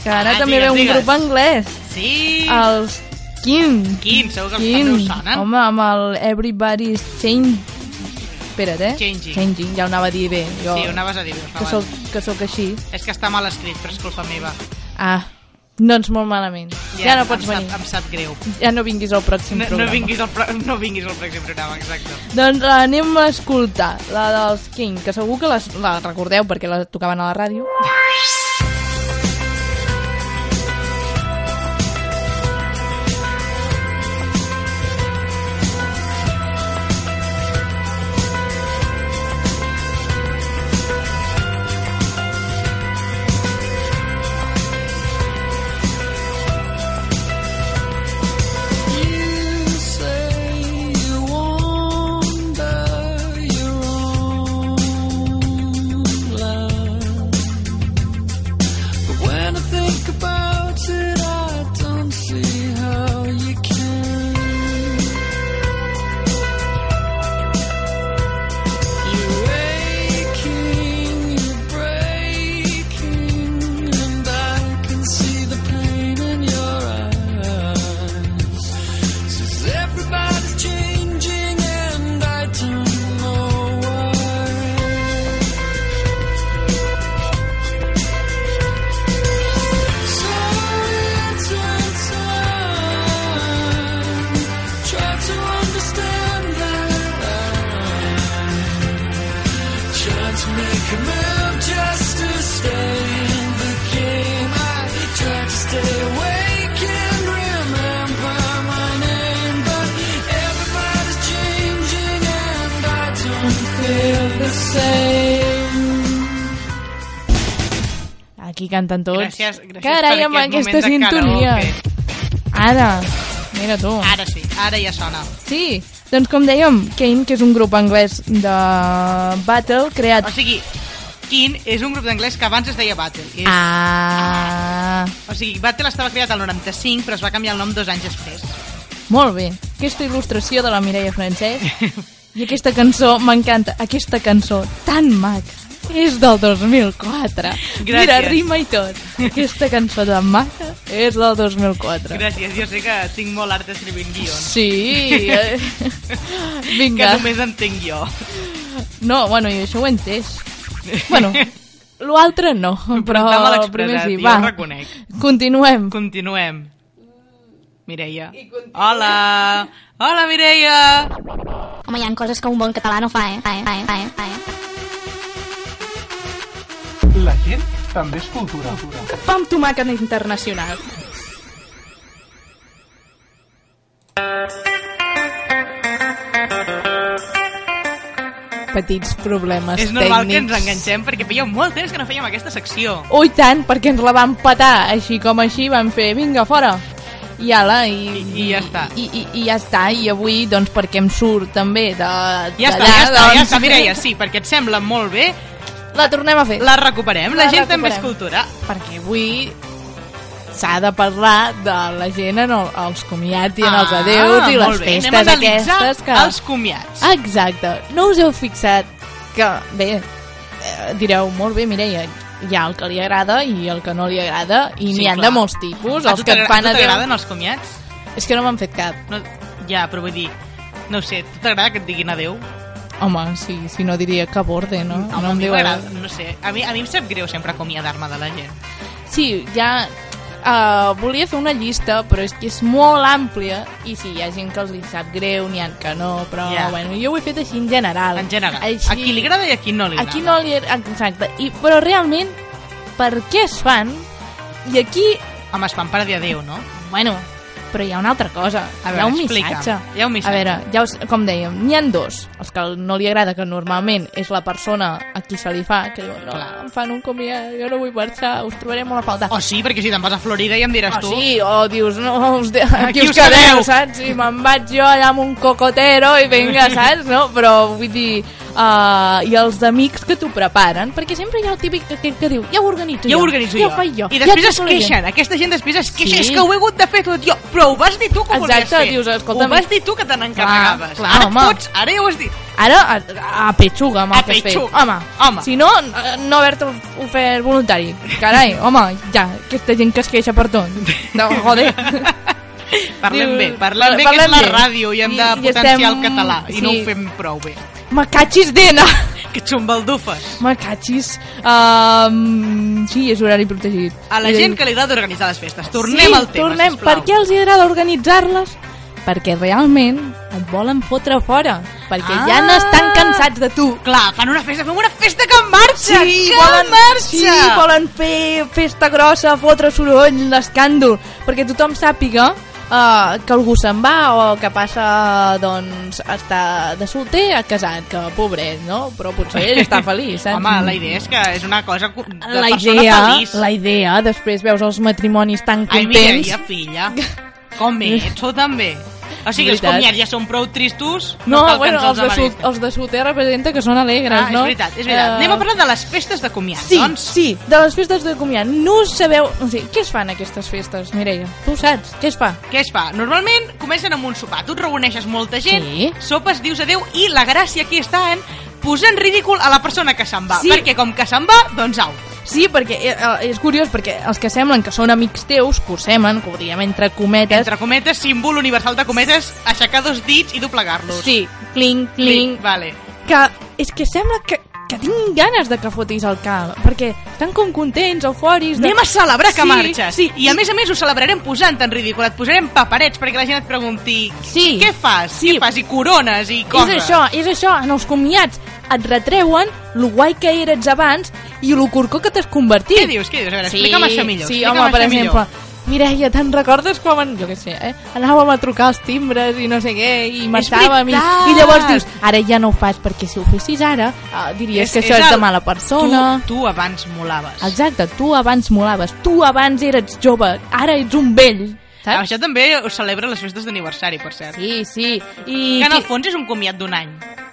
Speaker 8: Que ara
Speaker 5: Ah,
Speaker 8: també
Speaker 5: digues,
Speaker 8: ve un
Speaker 5: digues.
Speaker 8: grup anglès,
Speaker 5: Sí!
Speaker 8: els Kin.
Speaker 5: Kin, segur que els
Speaker 8: Kin.
Speaker 5: també us sonen.
Speaker 8: Home, amb el Everybody's Changing. Espera't, eh?
Speaker 5: Changing.
Speaker 8: Changing, ja ho anava a dir bé. Jo,
Speaker 5: Sí, ho anaves a dir. ho
Speaker 8: que,
Speaker 5: anaves a
Speaker 8: sóc,
Speaker 5: dir.
Speaker 8: que sóc així.
Speaker 5: És que està mal escrit, però és culpa meva.
Speaker 8: Ah, doncs molt malament. Ja, no pots
Speaker 5: em
Speaker 8: venir.
Speaker 5: Sap, em sap greu.
Speaker 8: Ja no vinguis al pròxim
Speaker 5: No, no,
Speaker 8: programa.
Speaker 5: vinguis al, pro- no vinguis al pròxim programa, exacte.
Speaker 8: Doncs l'anem a escoltar, la dels King, que segur que les, la recordeu perquè la tocaven a la ràdio.
Speaker 6: Everybody's changing and I don't know why.
Speaker 8: Aquí canten tots.
Speaker 5: Gràcies, gràcies
Speaker 8: Carai,
Speaker 5: per
Speaker 8: amb
Speaker 5: aquest
Speaker 8: aquesta
Speaker 5: moment de
Speaker 8: sintonia.
Speaker 5: karaoke.
Speaker 8: Ara, mira tu.
Speaker 5: Ara sí, ara ja sona.
Speaker 8: Sí, doncs com dèiem, Kane, que és un grup anglès de battle creat...
Speaker 5: O sigui, Kin és un grup d'anglès que abans es deia Battle. És,
Speaker 8: Ah,
Speaker 5: O sigui, Battle estava creat al 95, però es va canviar el nom dos anys després.
Speaker 8: molt bé. Aquesta il·lustració de la Mireia Francesc. I aquesta cançó, m'encanta, aquesta cançó tan maca. És del 2004. Mira,
Speaker 5: Gràcies.
Speaker 8: rima i tot. Aquesta cançó tan maca és del 2004.
Speaker 5: Gràcies, jo sé que tinc molt art escrivint guions.
Speaker 8: Sí. eh.
Speaker 5: Que
Speaker 8: Vinga.
Speaker 5: només entenc jo.
Speaker 8: No, bueno, i això ho he entès. Bueno, l'altre no, però,
Speaker 5: està mal
Speaker 8: el primer
Speaker 5: expressat,
Speaker 8: sí.
Speaker 5: jo
Speaker 8: Va,
Speaker 5: ho reconec.
Speaker 8: Continuem.
Speaker 5: Continuem. Mireia. Hola! Hola, Mireia!
Speaker 11: Home, hi ha coses que un bon català no fa, eh? Fa, eh? Fa, eh? Fa, eh? Fa, eh?
Speaker 10: La gent també és cultura.
Speaker 8: Pa amb tomàquet internacional. Petits problemes
Speaker 5: és normal que
Speaker 8: tècnics.
Speaker 5: ens enganxem perquè feia molt temps que no fèiem aquesta secció.
Speaker 8: Oh, i tant, perquè ens la van petar, així com així, van fer, vinga, fora. I ala, i...
Speaker 5: I- i ja està.
Speaker 8: I, i, I ja està, i avui, doncs, perquè em surt també de...
Speaker 5: Ja està,
Speaker 8: d'allà,
Speaker 5: ja està, ja
Speaker 8: doncs,
Speaker 5: està, Mireia, sí, perquè et sembla molt bé,
Speaker 8: La tornem a fer.
Speaker 5: la recuperem. La,
Speaker 8: La
Speaker 5: gent també és cultura.
Speaker 8: recuperem. Perquè avui s'ha de parlar de la gent en el, els comiats i en els adeus i les
Speaker 5: Ah, molt bé, anem a
Speaker 8: festes
Speaker 5: analitzar
Speaker 8: aquestes que... Ah,
Speaker 5: Els comiats.
Speaker 8: Exacte. No us heu fixat que, bé, eh, direu, molt bé, Mireia, hi ha el que li agrada i el que no li agrada, i
Speaker 5: Sí,
Speaker 8: n'hi han
Speaker 5: clar.
Speaker 8: de molts tipus.
Speaker 5: A
Speaker 8: Els
Speaker 5: tu
Speaker 8: que
Speaker 5: t'agra- a
Speaker 8: et fan
Speaker 5: tu
Speaker 8: adeu...
Speaker 5: t'agraden els comiats?
Speaker 8: És que no m'han fet cap.
Speaker 5: No, ja, però vull dir, no ho sé, a tu t'agrada que et diguin adeu?
Speaker 8: Home, si, si no diria que borde, no?
Speaker 5: Mm, Home,
Speaker 8: no
Speaker 5: a
Speaker 8: em
Speaker 5: mi
Speaker 8: diu
Speaker 5: m'agrada, no sé. A mi, a mi em sap greu sempre acomiadar-me de la gent.
Speaker 8: Sí, ja Uh, volia fer una llista, però és que és molt àmplia, i sí, hi ha gent que els hi sap greu, n'hi ha que no, però
Speaker 5: Ja.
Speaker 8: yeah. bueno, jo ho he fet així en general.
Speaker 5: En general. A qui li agrada i a qui no li
Speaker 8: a qui no li... Exacte. I, però realment, per què es fan? I aquí...
Speaker 5: Home, es fan per dir adéu, no?
Speaker 8: Bueno, però hi ha una altra cosa.
Speaker 5: A
Speaker 8: hi ha
Speaker 5: veure,
Speaker 8: un
Speaker 5: explica'm.
Speaker 8: missatge.
Speaker 5: Hi ha un missatge.
Speaker 8: A veure, ja us, com dèiem, n'hi han dos. Els que no li agrada, que normalment és la persona a qui se li fa, que diuen, no,
Speaker 5: Clar.
Speaker 8: em fan un comiat, jo no vull marxar, us trobaré molt a faltar.
Speaker 5: O Oh, sí, perquè si te'n vas a Florida i em diràs
Speaker 8: Ah,
Speaker 5: tu...
Speaker 8: sí, o dius, no, us de... aquí,
Speaker 5: Aquí
Speaker 8: us
Speaker 5: us quedeu.
Speaker 8: quedeu, saps? I me'n vaig jo allà amb un cocotero i vinga, saps? No? Però vull dir, uh, i els amics que t'ho preparen, perquè sempre hi ha el típic que, que, que diu, ja ho organitzo
Speaker 5: Ja
Speaker 8: jo,
Speaker 5: ho organitzo
Speaker 8: ja
Speaker 5: jo.
Speaker 8: ho faig jo.
Speaker 5: I després
Speaker 8: ja
Speaker 5: es queixen, aquesta gent després es queixa,
Speaker 8: Sí.
Speaker 5: és que ho he hagut de fer tot jo, però ho vas dir tu que ho volies
Speaker 8: Exacte,
Speaker 5: fer.
Speaker 8: dius, escolta'm-
Speaker 5: Ho vas dir tu que te n'encarregaves.
Speaker 8: Clar, clar,
Speaker 5: ara
Speaker 8: home.
Speaker 5: et fots, ara ja ho has dit.
Speaker 8: Ara, a, a petxuga amb el
Speaker 5: A
Speaker 8: que has fet.
Speaker 5: petxuga.
Speaker 8: Home,
Speaker 5: Home.
Speaker 8: si no, eh, no haver-te ofert voluntari. Carai, home, ja, aquesta gent que es queixa per tot. No, joder.
Speaker 5: Parlem
Speaker 8: Diu,
Speaker 5: bé, parlem bé, que
Speaker 8: parlem
Speaker 5: és la
Speaker 8: bé.
Speaker 5: ràdio i hem de
Speaker 8: I- i
Speaker 5: potenciar
Speaker 8: estem-
Speaker 5: el català i no
Speaker 8: sí.
Speaker 5: ho fem prou bé.
Speaker 8: Me catxis d'ena.
Speaker 5: Que ets un baldufes.
Speaker 8: Me catxis. Um, sí, és horari protegit.
Speaker 5: A la
Speaker 8: És
Speaker 5: gent que li agrada organitzar les festes. Tornem
Speaker 8: sí,
Speaker 5: al tema,
Speaker 8: tornem.
Speaker 5: sisplau.
Speaker 8: Per què els hi agrada organitzar-les? Perquè realment et volen fotre fora. Perquè
Speaker 5: Ah.
Speaker 8: ja n'estan cansats de tu.
Speaker 5: Clar, fan una festa, fem una festa que marxa,
Speaker 8: Sí,
Speaker 5: que
Speaker 8: volen,
Speaker 5: marxa.
Speaker 8: sí, volen fer festa grossa, fotre soroll, l'escàndol, perquè tothom sàpiga Uh, que algú se'n va o que passa doncs està de solter a casat que pobret, no? però potser ell està feliç saps?
Speaker 5: Home, la idea és que és una cosa cu- de
Speaker 8: la
Speaker 5: persona
Speaker 8: idea,
Speaker 5: feliç.
Speaker 8: la idea, després veus els matrimonis tan
Speaker 5: Ai, mira,
Speaker 8: contents
Speaker 5: ja, filla. Com ets, tu també. O sigui, els
Speaker 8: Veritat.
Speaker 5: comiats ja són prou tristos,
Speaker 8: no,
Speaker 5: cal que
Speaker 8: bueno,
Speaker 5: ens
Speaker 8: els de,
Speaker 5: amarguis.
Speaker 8: sol, els de solter representa que són alegres
Speaker 5: Ah, és
Speaker 8: no?
Speaker 5: veritat, és veritat.
Speaker 8: Eh,
Speaker 5: Anem a parlar de les festes de comiat,
Speaker 8: Sí,
Speaker 5: doncs.
Speaker 8: sí, de les festes de comiat. No sabeu... O sigui, què es fan aquestes festes, Mireia? Tu ho saps, què es fa?
Speaker 5: Què es fa? Normalment comencen amb un sopar. Tu et reuneixes molta gent,
Speaker 8: Sí.
Speaker 5: sopes, dius adeu, i la gràcia aquí està en posar en ridícul a la persona que se'n va.
Speaker 8: Sí.
Speaker 5: Perquè com que se'n va, doncs au.
Speaker 8: Sí, perquè eh, eh, és curiós, perquè els que semblen que són amics teus, que ho semen, que ho diem entre cometes...
Speaker 5: Entre cometes, símbol universal de cometes, aixecar dos dits i doblegar-los.
Speaker 8: Sí, clink,
Speaker 5: Clink,
Speaker 8: clink...
Speaker 5: vale.
Speaker 8: Que és que sembla que, que tinc ganes de que fotis el cap, perquè estan com contents, eufòrics... De...
Speaker 5: Anem a celebrar que
Speaker 8: sí,
Speaker 5: marxes.
Speaker 8: Sí,
Speaker 5: I a més a més ho celebrarem posant en ridícul. Et posarem paperets perquè la gent et pregunti
Speaker 8: Sí.
Speaker 5: què fas,
Speaker 8: Sí.
Speaker 5: què fas, i corones i
Speaker 8: És
Speaker 5: coses.
Speaker 8: això, és això, en els comiats et retreuen lo guai que eres abans i lo corcó que t'has convertit.
Speaker 5: Què dius, què dius? A veure, explica'm això millor.
Speaker 8: Sí,
Speaker 5: explica'm
Speaker 8: home, per
Speaker 5: això
Speaker 8: exemple,
Speaker 5: Millor.
Speaker 8: Mireia, te'n recordes quan, jo què sé, eh, anàvem a trucar els timbres i no sé què, i marxàvem, i,
Speaker 5: veritat!
Speaker 8: i llavors dius, ara ja no ho fas perquè si ho fessis ara eh, diries que això és, de
Speaker 5: el-
Speaker 8: mala persona.
Speaker 5: Tu, tu abans molaves.
Speaker 8: Exacte, tu abans molaves, tu abans eres jove, ara ets un vell,
Speaker 5: Ah,
Speaker 8: saps?
Speaker 5: Això també ho celebra les festes d'aniversari, per cert.
Speaker 8: Sí, sí.
Speaker 5: Que
Speaker 8: I...
Speaker 5: en el fons és un comiat d'un any.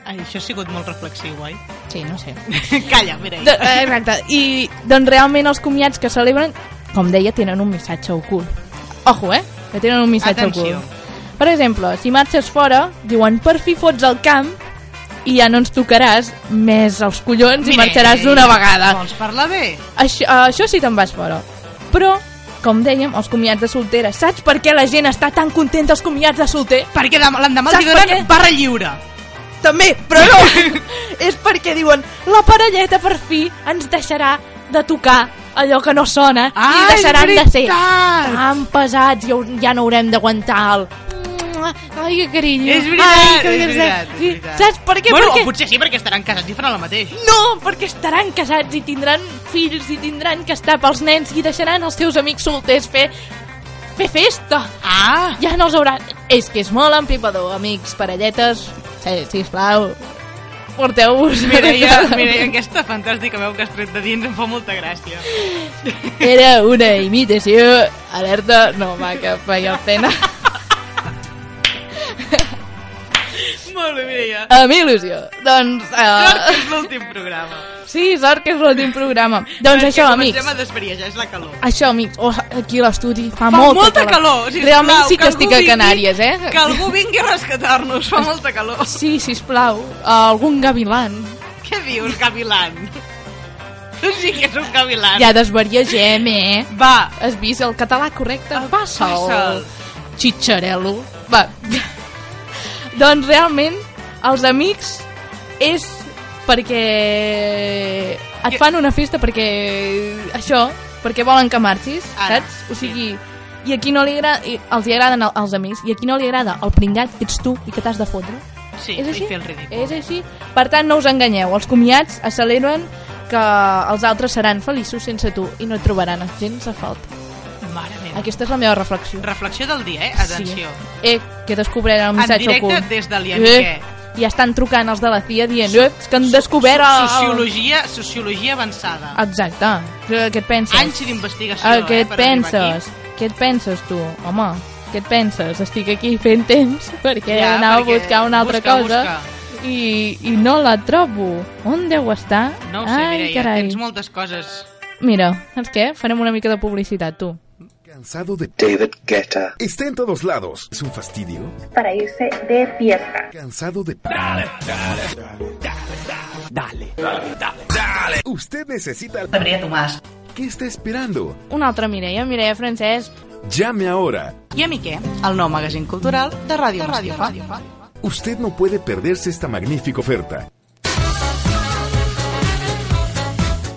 Speaker 5: Ai, això ha sigut molt reflexiu, oi?
Speaker 8: Sí, no sé.
Speaker 5: Calla, Mireia.
Speaker 8: Do- eh, Exacte, i doncs realment els comiats que celebren, com deia, tenen un missatge ocult. Ojo, eh? Que tenen un missatge
Speaker 5: Atenció.
Speaker 8: ocult. Per exemple, si marxes fora, diuen per fi fots el camp i ja no ens tocaràs més els collons i
Speaker 5: Mireia,
Speaker 8: marxaràs
Speaker 5: eh,
Speaker 8: d'una vegada.
Speaker 5: Vols parlar bé?
Speaker 8: Això, això sí te'n vas fora. Però, com dèiem, els comiats de soltera, saps per què la gent està tan contenta els comiats de solter?
Speaker 5: Perquè demà- l'endemà els
Speaker 8: Saps
Speaker 5: hi
Speaker 8: per què?
Speaker 5: donen barra lliure.
Speaker 8: També, però no! és perquè diuen la parelleta per fi ens deixarà de tocar allò que no sona
Speaker 5: Ah,
Speaker 8: i deixaran
Speaker 5: és
Speaker 8: de ser
Speaker 5: veritat!
Speaker 8: tan pesats ja, ja no haurem d'aguantar el ai que carinyo
Speaker 5: És veritat,
Speaker 8: ai, que
Speaker 5: és
Speaker 8: carinyo.
Speaker 5: veritat, és
Speaker 8: Sí,
Speaker 5: veritat.
Speaker 8: saps per què?
Speaker 5: bueno,
Speaker 8: perquè...
Speaker 5: o potser sí, perquè estaran casats i faran el mateix.
Speaker 8: No, perquè estaran casats i tindran fills i tindran que estar pels nens i deixaran els seus amics solters fer, fer festa.
Speaker 5: Ah!
Speaker 8: Ja no els hauran... És que és molt empipador, amics, parelletes. Sí, sisplau, porteu-vos.
Speaker 5: Mireia, Mireia, aquesta fantàstica veu que has tret de dins em fa molta gràcia.
Speaker 8: Era una imitació. Alerta, no va, que feia pena.
Speaker 5: Molt bé, Mireia.
Speaker 8: A mi il·lusió. Doncs...
Speaker 5: Sort que
Speaker 8: Uh,
Speaker 5: és l'últim programa.
Speaker 8: sí, sort que és l'últim programa. Doncs
Speaker 5: Perquè
Speaker 8: això,
Speaker 5: comencem
Speaker 8: amics.
Speaker 5: a desvariar, ja és la calor.
Speaker 8: Això, amics, oh, aquí a l'estudi
Speaker 5: Fa
Speaker 8: fa, molta,
Speaker 5: molta calor, sisplau,
Speaker 8: Realment sí que,
Speaker 5: algú
Speaker 8: estic a
Speaker 5: vingui-
Speaker 8: Canàries, eh?
Speaker 5: Que algú vingui a rescatar-nos, fa molta calor.
Speaker 8: Sí, sisplau, algun gavilan.
Speaker 5: Què dius, Gavilan? Tu sí que ets un Gavilan.
Speaker 8: Ja desvariegem, eh?
Speaker 5: Va, Ah,
Speaker 8: Has vist el català correcte?
Speaker 5: El
Speaker 8: Passa'l.
Speaker 5: passa'l.
Speaker 8: Xitxarelo. Va. doncs realment, els amics és perquè et fan una festa perquè això perquè volen que marxis,
Speaker 5: Ara,
Speaker 8: saps? O sigui, i aquí no li agrada, i els hi agraden el- els amics, i aquí no li agrada el pringat que ets tu i que t'has de fotre.
Speaker 5: Sí,
Speaker 8: és
Speaker 5: i
Speaker 8: així?
Speaker 5: fer el ridícul.
Speaker 8: És així? Per tant, no us enganyeu, els comiats asseguren que els altres seran feliços sense tu i no et trobaran gens a falta.
Speaker 5: Mare meva.
Speaker 8: Aquesta és la meva reflexió.
Speaker 5: Reflexió del dia, eh? Atenció.
Speaker 8: Eh, Sí. Eh, que descobriran
Speaker 5: En
Speaker 8: el missatge
Speaker 5: directe
Speaker 8: ocult.
Speaker 5: des de l'Ianiquet.
Speaker 8: Eh, I estan trucant els de la CIA dient eh, és que han descobert... el-
Speaker 5: Sociologia, sociologia avançada.
Speaker 8: Exacte. Eh, Què et penses?
Speaker 5: Anys d'investigació,
Speaker 8: Eh, què
Speaker 5: eh,
Speaker 8: et
Speaker 5: per arribar
Speaker 8: penses? Què et penses, tu? Home, què et penses? Estic aquí fent temps perquè
Speaker 5: Ja,
Speaker 8: ja, anava
Speaker 5: perquè
Speaker 8: a buscar una altra
Speaker 5: busca,
Speaker 8: cosa I, i no la trobo. On deu estar?
Speaker 5: No ho sé,
Speaker 8: Ai,
Speaker 5: Mireia,
Speaker 8: carai.
Speaker 5: tens moltes coses.
Speaker 8: Mira, saps què? Farem una mica de publicitat, tu.
Speaker 9: Cansado de David Guetta. Está en todos lados. Es un fastidio.
Speaker 1: para irse de fiesta.
Speaker 9: Cansado de
Speaker 6: Dale, dale, dale, dale, dale.
Speaker 9: Dale. Usted necesita.
Speaker 5: Sabría Tomás.
Speaker 9: ¿Qué está esperando?
Speaker 8: Una altra Mireia, Mireia Francesc.
Speaker 9: Llame ahora.
Speaker 5: I a mi què? El nou magazín cultural de Ràdio Mastifà.
Speaker 9: Usted no puede perderse esta magnífica oferta.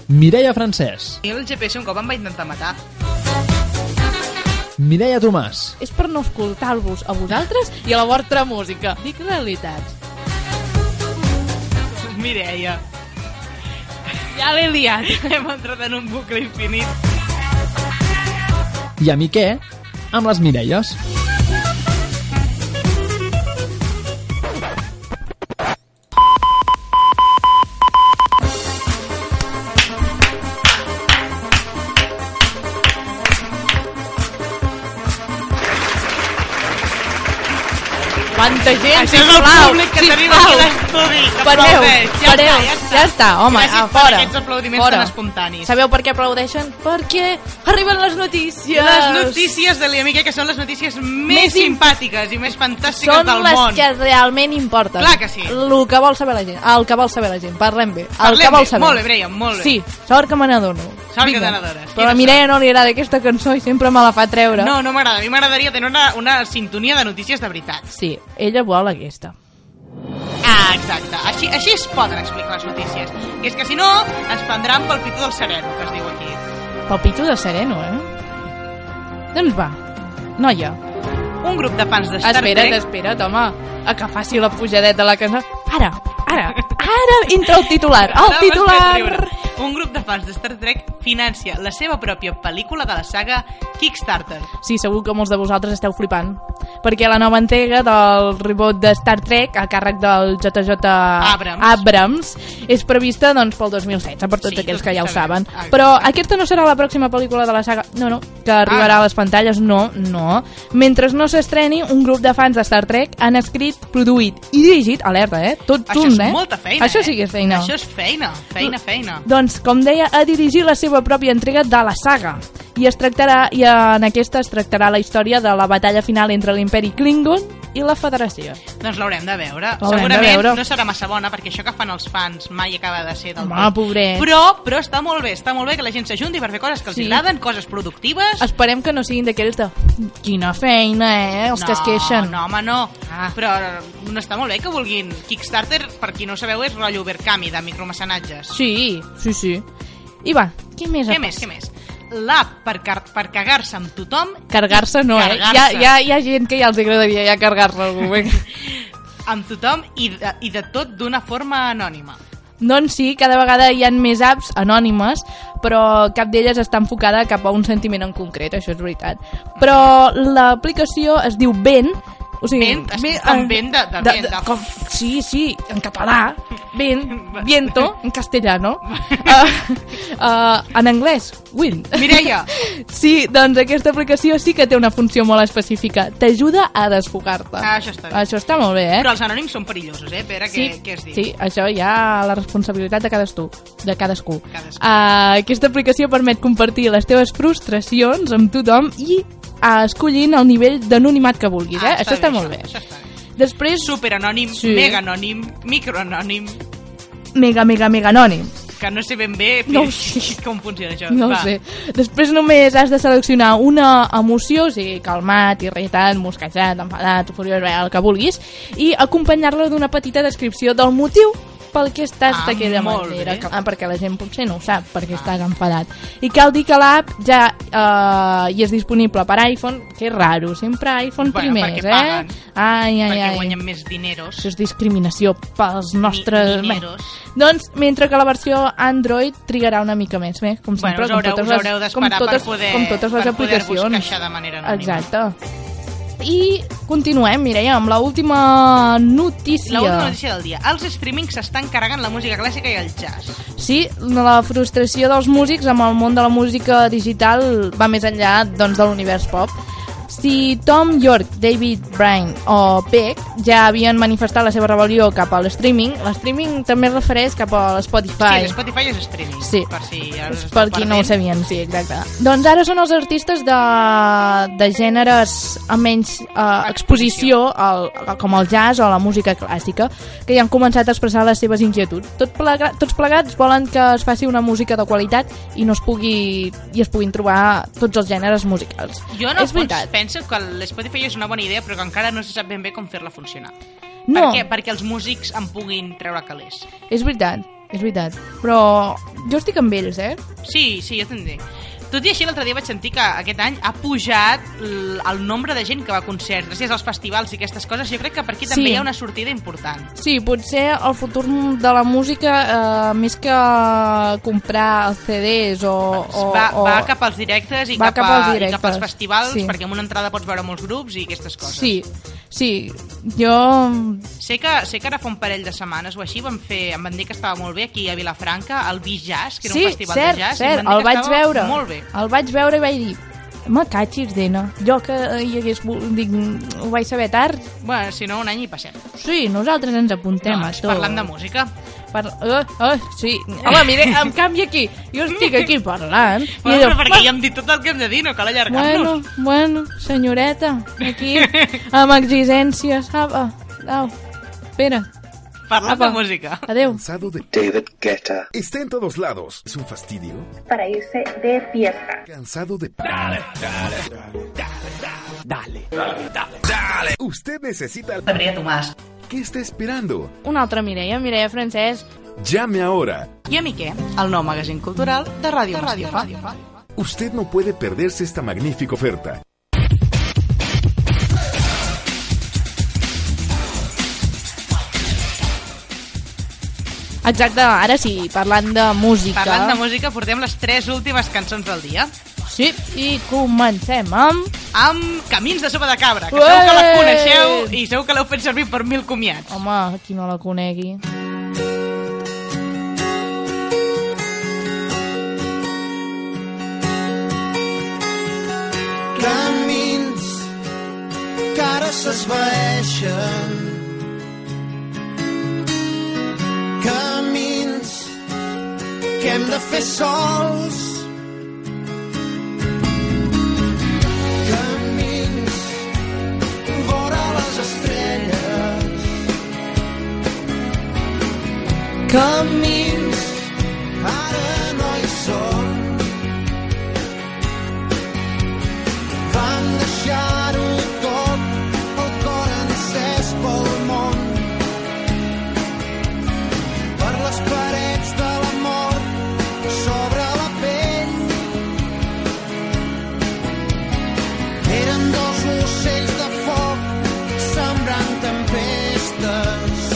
Speaker 12: Mireia Francesc,
Speaker 5: I el GPS un cop em va intentar matar.
Speaker 12: Mireia Tomàs,
Speaker 8: És per no escoltar-vos a vosaltres i a la vostra música. Dic realitats.
Speaker 5: Mireia.
Speaker 8: Ja l'he liat.
Speaker 5: Hem entrat en un bucle infinit.
Speaker 12: i a mi què? Amb les Mireies.
Speaker 8: Quanta gent,
Speaker 5: Això és el
Speaker 8: sisplau,
Speaker 5: públic que tenim
Speaker 8: sisplau.
Speaker 5: aquí a l'estudi, que
Speaker 8: Pareu,
Speaker 5: aplaudeix. Ja està,
Speaker 8: pareu,
Speaker 5: ja està.
Speaker 8: ja està, home,
Speaker 5: Gràcies
Speaker 8: a
Speaker 5: per
Speaker 8: fora,
Speaker 5: aquests aplaudiments
Speaker 8: fora.
Speaker 5: tan espontanis.
Speaker 8: Sabeu per què aplaudeixen? Perquè arriben les notícies.
Speaker 5: Les notícies de l'Iamique, que són les notícies més,
Speaker 8: Més
Speaker 5: més
Speaker 8: im-
Speaker 5: simpàtiques i més fantàstiques
Speaker 8: Són
Speaker 5: del
Speaker 8: les
Speaker 5: món.
Speaker 8: que realment importen.
Speaker 5: Clar que sí.
Speaker 8: El que vol saber la gent. El que vol saber la gent. Parlem bé. El
Speaker 5: Parlem
Speaker 8: que vol
Speaker 5: bé.
Speaker 8: saber.
Speaker 5: Molt bé, Mireia, molt bé.
Speaker 8: Sí, sort que me n'adono.
Speaker 5: Sort que
Speaker 8: Vinga.
Speaker 5: te n'adones.
Speaker 8: Però a
Speaker 5: Quina
Speaker 8: Mireia no li agrada aquesta cançó i sempre me la fa treure.
Speaker 5: No, no m'agrada. A mi m'agradaria tenir una, una sintonia de notícies de veritat.
Speaker 8: Sí, ella vol aquesta.
Speaker 5: Ah, exacte. Així, així es poden explicar les notícies. I és que si no, ens prendran pel pitó del sereno, que es diu aquí.
Speaker 8: Papito de sereno, eh? Doncs va, noia.
Speaker 5: Un grup de fans de Star
Speaker 8: Espera't,
Speaker 5: Trek...
Speaker 8: espera't, home. A que faci la pujadeta a la casa. Ara, ara, ara entra el titular. El
Speaker 5: Estava
Speaker 8: titular!
Speaker 5: escriure. Un grup de fans de Star Trek financia la seva pròpia pel·lícula de la saga Kickstarter.
Speaker 8: Sí, segur que molts de vosaltres esteu flipant. Perquè la nova entrega del rebot de Star Trek a càrrec del JJ
Speaker 5: Abrams.
Speaker 8: Abrams és prevista doncs, pel 2016, per tots
Speaker 5: Sí,
Speaker 8: aquells que ja ho
Speaker 5: 2016.
Speaker 8: saben.
Speaker 5: Ah,
Speaker 8: Però aquesta no serà la pròxima pel·lícula de la saga, no, no, que arribarà
Speaker 5: Ah, no.
Speaker 8: a les pantalles, no, no. Mentre no s'estreni, un grup de fans de Star Trek han escrit, produït i dirigit, alerta, eh? Tot
Speaker 5: Això
Speaker 8: junts,
Speaker 5: és
Speaker 8: eh?
Speaker 5: molta feina,
Speaker 8: Això
Speaker 5: eh?
Speaker 8: sí que és feina.
Speaker 5: Això és feina, feina, feina.
Speaker 8: Doncs, com deia, a dirigir la seva pròpia entrega de la saga. I es tractarà, i en aquesta es tractarà la història de la batalla final entre l'imperi Klingon i la Federació.
Speaker 5: Doncs l'haurem de veure.
Speaker 8: de
Speaker 5: Segurament
Speaker 8: veure.
Speaker 5: no serà massa bona, perquè això que fan els fans mai acaba de ser del
Speaker 8: Home,
Speaker 5: tot.
Speaker 8: pobret.
Speaker 5: Però, però està molt bé, està molt bé que la gent s'ajunti per fer coses que els
Speaker 8: Sí.
Speaker 5: agraden, coses productives.
Speaker 8: Esperem que no siguin d'aquells de... Quina feina, eh? Els que es queixen.
Speaker 5: No, home, no. Ah. Però no està molt bé que vulguin. Kickstarter, per qui no ho sabeu, és rotllo Verkami, de micromecenatges.
Speaker 8: Sí, sí, sí. I va, què més?
Speaker 5: Què més, què més? L'app per, car per cagar-se amb tothom
Speaker 8: Cargar-se no, eh? Hi ha,
Speaker 5: Cargar-se.
Speaker 8: hi, ha, hi ha gent que ja els agradaria ja cargar-se algú. vinga.
Speaker 5: amb tothom i de, i de tot d'una forma anònima.
Speaker 8: Doncs sí, cada vegada hi ha més apps anònimes, però cap d'elles està enfocada cap a un sentiment en concret, això és veritat. Però l'aplicació es diu Vent, o sigui,
Speaker 5: Vent, es- amb vent de- de vent, de-
Speaker 8: com, sí, sí, en català, vent, viento, en castellano, uh, uh, en anglès, wind.
Speaker 5: Mireia.
Speaker 8: Sí, doncs aquesta aplicació sí que té una funció molt específica, t'ajuda a desfogar-te.
Speaker 5: Ah, això està bé.
Speaker 8: Això està molt bé, eh?
Speaker 5: Però els anònims són perillosos, eh, Pere? Què, què es diu?
Speaker 8: Sí, això ja la responsabilitat de cadascú. De cadascú.
Speaker 5: Cadascú.
Speaker 8: Uh, aquesta aplicació permet compartir les teves frustracions amb tothom i uh, escollint el nivell d'anonimat que vulguis, eh? Això està molt bé.
Speaker 5: Això Ah, està bé.
Speaker 8: Després,
Speaker 5: Superanònim,
Speaker 8: Sí.
Speaker 5: mega anònim, microanònim,
Speaker 8: mega, mega, mega anònim.
Speaker 5: que no sé ben bé
Speaker 8: No ho
Speaker 5: com funciona això.
Speaker 8: No ho
Speaker 5: Va.
Speaker 8: sé. Després només has de seleccionar una emoció, o sigui, calmat, irritat, mosquejat, enfadat, furiós, bé, el que vulguis, i acompanyar-la d'una petita descripció del motiu pel que estàs
Speaker 5: Ah,
Speaker 8: d'aquella
Speaker 5: molt
Speaker 8: manera.
Speaker 5: bé. Ah.
Speaker 8: Ah, perquè la gent potser no ho sap, perquè estàs enfadat. I cal dir que l'app ja eh, hi és disponible per iPhone, que és raro, sempre iPhone
Speaker 5: Bueno,
Speaker 8: primers,
Speaker 5: perquè
Speaker 8: eh?
Speaker 5: paguen.
Speaker 8: Ai, ai,
Speaker 5: perquè
Speaker 8: ai.
Speaker 5: guanyen més dineros.
Speaker 8: Això és discriminació pels nostres... Bé,
Speaker 5: dineros.
Speaker 8: Doncs, mentre que la versió Android trigarà una mica més, bé, com
Speaker 5: Bueno,
Speaker 8: sempre,
Speaker 5: us haureu,
Speaker 8: com
Speaker 5: us
Speaker 8: totes
Speaker 5: haureu
Speaker 8: les,
Speaker 5: d'esperar
Speaker 8: totes,
Speaker 5: per poder,
Speaker 8: com totes les
Speaker 5: per poder-vos
Speaker 8: aplicacions.
Speaker 5: queixar de manera anònima.
Speaker 8: Exacte. I continuem, Mireia, amb l'última notícia.
Speaker 5: La última notícia del dia. Els streamings s'estan carregant la música clàssica i el jazz.
Speaker 8: Sí, la frustració dels músics amb el món de la música digital va més enllà doncs, de l'univers pop. Si Tom York, David Bryan o Peck ja havien manifestat la seva rebel·lió cap al streaming, l'streaming també es refereix cap a l'Spotify.
Speaker 5: Sí, Spotify és streaming.
Speaker 8: Sí.
Speaker 5: Per si ara us
Speaker 8: per
Speaker 5: esteu
Speaker 8: qui no ho
Speaker 5: perdent.
Speaker 8: sabien, sí, exacte. Doncs ara són els artistes de, de gèneres amb menys eh, exposició, al, com el jazz o la música clàssica, que ja han començat a expressar les seves inquietuds. Tot plega, tots plegats volen que es faci una música de qualitat i no es pugui i es puguin trobar tots els gèneres musicals.
Speaker 5: Jo no
Speaker 8: És veritat.
Speaker 5: penso que l'Spotify és una bona idea, però que encara no se sap ben bé com fer-la funcionar.
Speaker 8: No.
Speaker 5: Per què? Perquè els músics en puguin treure calés.
Speaker 8: És veritat, és veritat. Però jo estic amb ells, eh?
Speaker 5: Sí, sí, jo t'entenc. Tot i així, l'altre dia vaig sentir que aquest any ha pujat l- el nombre de gent que va a concerts, gràcies als festivals i aquestes coses. Jo crec que per aquí també hi
Speaker 8: Sí.
Speaker 5: ha una sortida important.
Speaker 8: Sí, potser el futur de la música, eh, més que comprar els CDs o... o
Speaker 5: va,
Speaker 8: o...
Speaker 5: va cap als directes i
Speaker 8: va
Speaker 5: cap,
Speaker 8: cap
Speaker 5: a, i cap
Speaker 8: als
Speaker 5: als
Speaker 8: directes,
Speaker 5: festivals,
Speaker 8: sí.
Speaker 5: perquè amb una entrada pots veure molts grups i aquestes coses.
Speaker 8: Sí, sí, jo...
Speaker 5: Sé que, sé que ara fa un parell de setmanes o així van fer, em van dir que estava molt bé aquí a Vilafranca, al Bijazz, que era
Speaker 8: sí,
Speaker 5: un festival
Speaker 8: cert,
Speaker 5: de jazz, i
Speaker 8: cert,
Speaker 5: em van dir
Speaker 8: el
Speaker 5: que
Speaker 8: vaig
Speaker 5: estava
Speaker 8: veure.
Speaker 5: molt bé.
Speaker 8: El vaig veure i vaig dir, me catxis, Dena. Jo que hi hagués... vol- Dic, ho vaig saber tard.
Speaker 5: Bueno, si no, un any hi passem.
Speaker 8: Sí, nosaltres ens apuntem
Speaker 5: No,
Speaker 8: a
Speaker 5: és
Speaker 8: tot.
Speaker 5: parlant de música.
Speaker 8: Per... Uh, uh, sí. Home, mire, em canvi aquí. Jo estic aquí parlant. I
Speaker 5: Bueno,
Speaker 8: allò,
Speaker 5: però perquè ja hem dit tot el que hem de dir, no cal
Speaker 8: Bueno,
Speaker 5: allargar-nos.
Speaker 8: bueno, senyoreta, aquí, amb exigències, apa, au, espera.
Speaker 5: Parlant
Speaker 8: Apa.
Speaker 5: de música.
Speaker 8: Adeu.
Speaker 9: David Guetta. Está en todos lados. ¿Es un fastidio?
Speaker 1: para irse de fiesta.
Speaker 9: ¿Cansado de...
Speaker 6: Dale,
Speaker 9: Dale. Dale. Dale. Usted necesita...
Speaker 5: Sabría Tomás.
Speaker 9: ¿Qué está esperando?
Speaker 8: Una altra Mireia, Mireia Francesc.
Speaker 9: Llame ahora.
Speaker 5: I a mi què? El nou magazín cultural de Ràdio Mastifa.
Speaker 9: Usted no puede perderse esta magnífica oferta.
Speaker 8: Exacte, ara sí, parlant de música.
Speaker 5: Parlant de música, portem les tres últimes cançons del dia.
Speaker 8: Sí, i comencem amb...
Speaker 5: Amb Camins de sopa de cabra, que segur que la
Speaker 8: Ué!
Speaker 5: coneixeu i segur que l'heu fet servir per mil comiats.
Speaker 8: Home, qui no la conegui.
Speaker 13: camins que ara s'esvaeixen. Camins que hem de fer sols. Camins vora les estrelles. Camins ara no hi són. Vam deixar-ho tot, el cor encès pel món. Per les parets de la mort, sobre la pell. Eren dos ocells de foc, sembrant tempestes.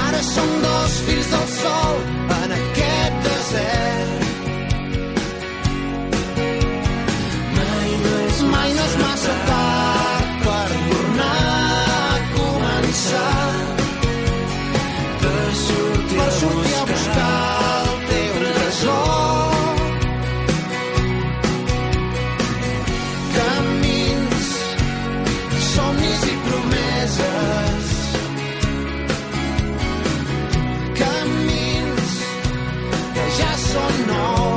Speaker 13: Ara som dos fills del sol, en aquest desert. Mai no és, mai no és massa tard per tornar a començar. Per sortir, per sortir a buscar el teu tresor. Camins, somnis i promeses. Camins que ja són nous.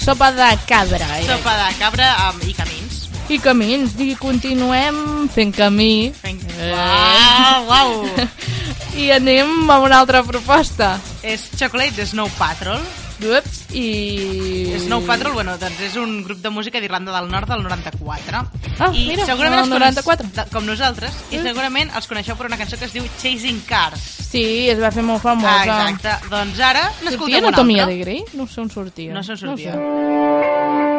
Speaker 8: Sopa de cabra, eh?
Speaker 5: Sopa de cabra amb, i camins.
Speaker 8: I camins, i continuem fent Eh? camí.
Speaker 5: Fent...
Speaker 8: Ah,
Speaker 5: Uau, uau.
Speaker 8: I anem amb una altra proposta.
Speaker 5: És Chocolate de Snow Patrol.
Speaker 8: Ups. i...
Speaker 5: Snow Patrol, bueno, doncs és un grup de música d'Irlanda del Nord del 94.
Speaker 8: Ah,
Speaker 5: I
Speaker 8: mira,
Speaker 5: segurament
Speaker 8: el
Speaker 5: els
Speaker 8: 94.
Speaker 5: Coneix, com nosaltres, i segurament els coneixeu per una cançó que es diu Chasing Cars.
Speaker 8: Sí, es va fer molt famosa.
Speaker 5: Ah, exacte. Doncs ara
Speaker 8: Sortia
Speaker 5: n'escoltem una
Speaker 8: Anatomia
Speaker 5: altra.
Speaker 8: de Grey? No sé on sortia.
Speaker 5: No se'n sortia.
Speaker 8: No sé.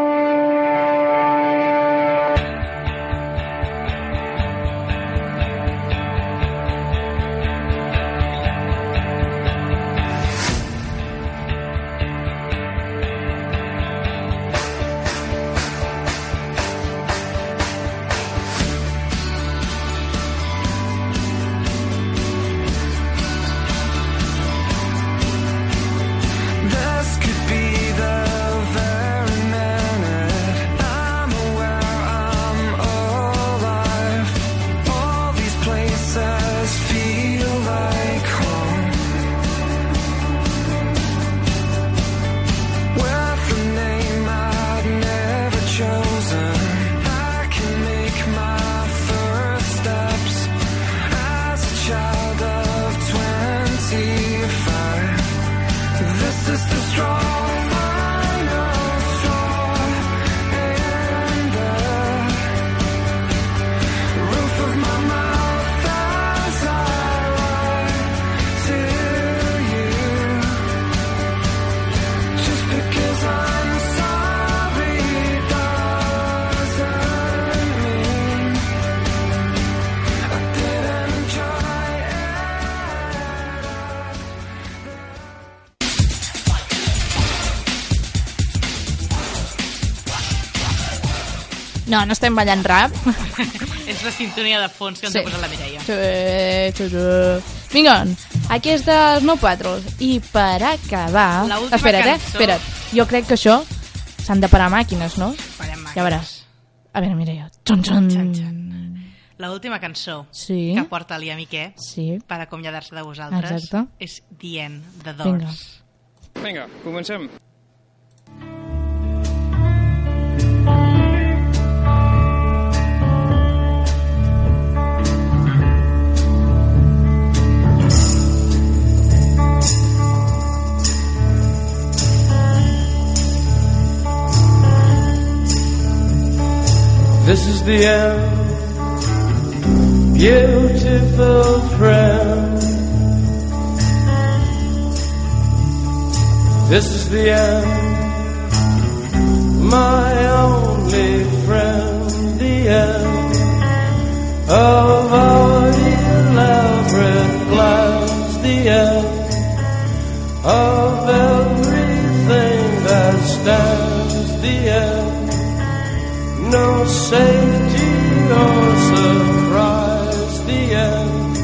Speaker 9: This could be the very minute I'm aware I'm alive. All these places feel like home. With a name I'd never chosen, I can make my first steps as a child of twenty-five. This is the straw, final straw in the roof of my mouth as I lie to you. Just because I'm sorry doesn't mean I didn't enjoy
Speaker 8: No, no estem ballant rap.
Speaker 5: És la sintonia de fons que ens ha posat la Mireia.
Speaker 8: Xu- xu- xu. Vinga, aquesta és No Patrol. I per acabar...
Speaker 5: La última
Speaker 8: Espera't, eh?
Speaker 5: cançó.
Speaker 8: Espera't. Jo crec que això s'han de parar màquines, no?
Speaker 5: Parem
Speaker 8: Ja veràs. A veure, Mireia. Xon, xon. Xan,
Speaker 5: La última cançó
Speaker 8: Sí.
Speaker 5: que porta Lia Miqué
Speaker 8: Sí.
Speaker 5: per acomiadar-se de vosaltres
Speaker 8: Exacte.
Speaker 5: és The End, The Doors.
Speaker 8: Vinga.
Speaker 7: Vinga, comencem.
Speaker 6: This is the end, beautiful friend. This is the end, my only friend. The end of our elaborate plans. The end of everything that stands. The end no safety or surprise. The end.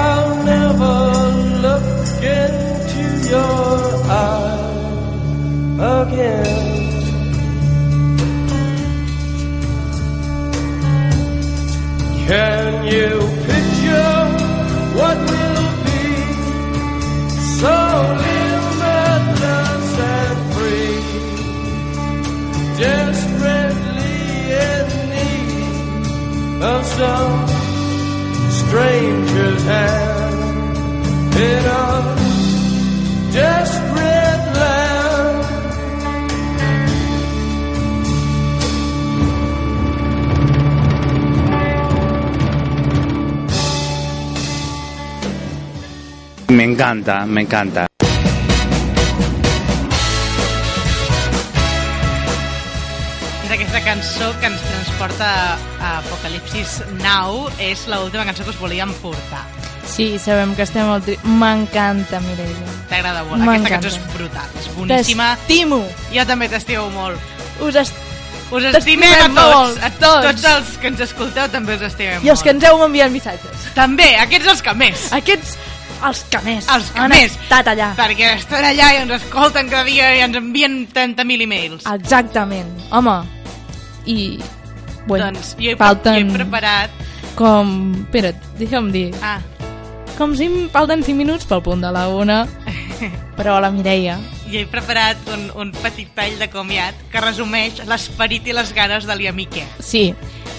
Speaker 6: I'll never look into your eyes again. Can you picture what will be? So limitless and free desperately in need of some stranger's hand in a desperate land.
Speaker 14: Me encanta, me encanta.
Speaker 5: És aquesta cançó que ens transporta a Apocalipsis Now. És l'última cançó que us volíem portar.
Speaker 8: Sí, sabem que estem al tri... M'encanta, Mireia.
Speaker 5: T'agrada molt. Aquesta
Speaker 8: M'encanta.
Speaker 5: cançó és brutal. És boníssima.
Speaker 8: T'estimo.
Speaker 5: Jo també t'estimo molt.
Speaker 8: Us, est...
Speaker 5: us
Speaker 8: t'estimem
Speaker 5: estimem a tots.
Speaker 8: molt,
Speaker 5: A
Speaker 8: tots.
Speaker 5: tots. tots els que ens escolteu també us estimem
Speaker 8: I els que ens heu enviat missatges.
Speaker 5: També, aquests els que més.
Speaker 8: Aquests els que més.
Speaker 5: Els que
Speaker 8: Han
Speaker 5: més.
Speaker 8: estat allà.
Speaker 5: Perquè estan allà i ens escolten cada dia i ens envien 30.000 e-mails.
Speaker 8: Ah, Exactament. Home, i... Bueno,
Speaker 5: doncs jo he,
Speaker 8: falten...
Speaker 5: jo he preparat...
Speaker 8: Com... Espera't, deixa'm dir.
Speaker 5: Ah.
Speaker 8: Com si em falten 5 minuts pel punt de la una, però la Mireia...
Speaker 5: Jo he preparat un, un petit tall de comiat que resumeix l'esperit i les ganes de l'Iamique.
Speaker 8: Sí,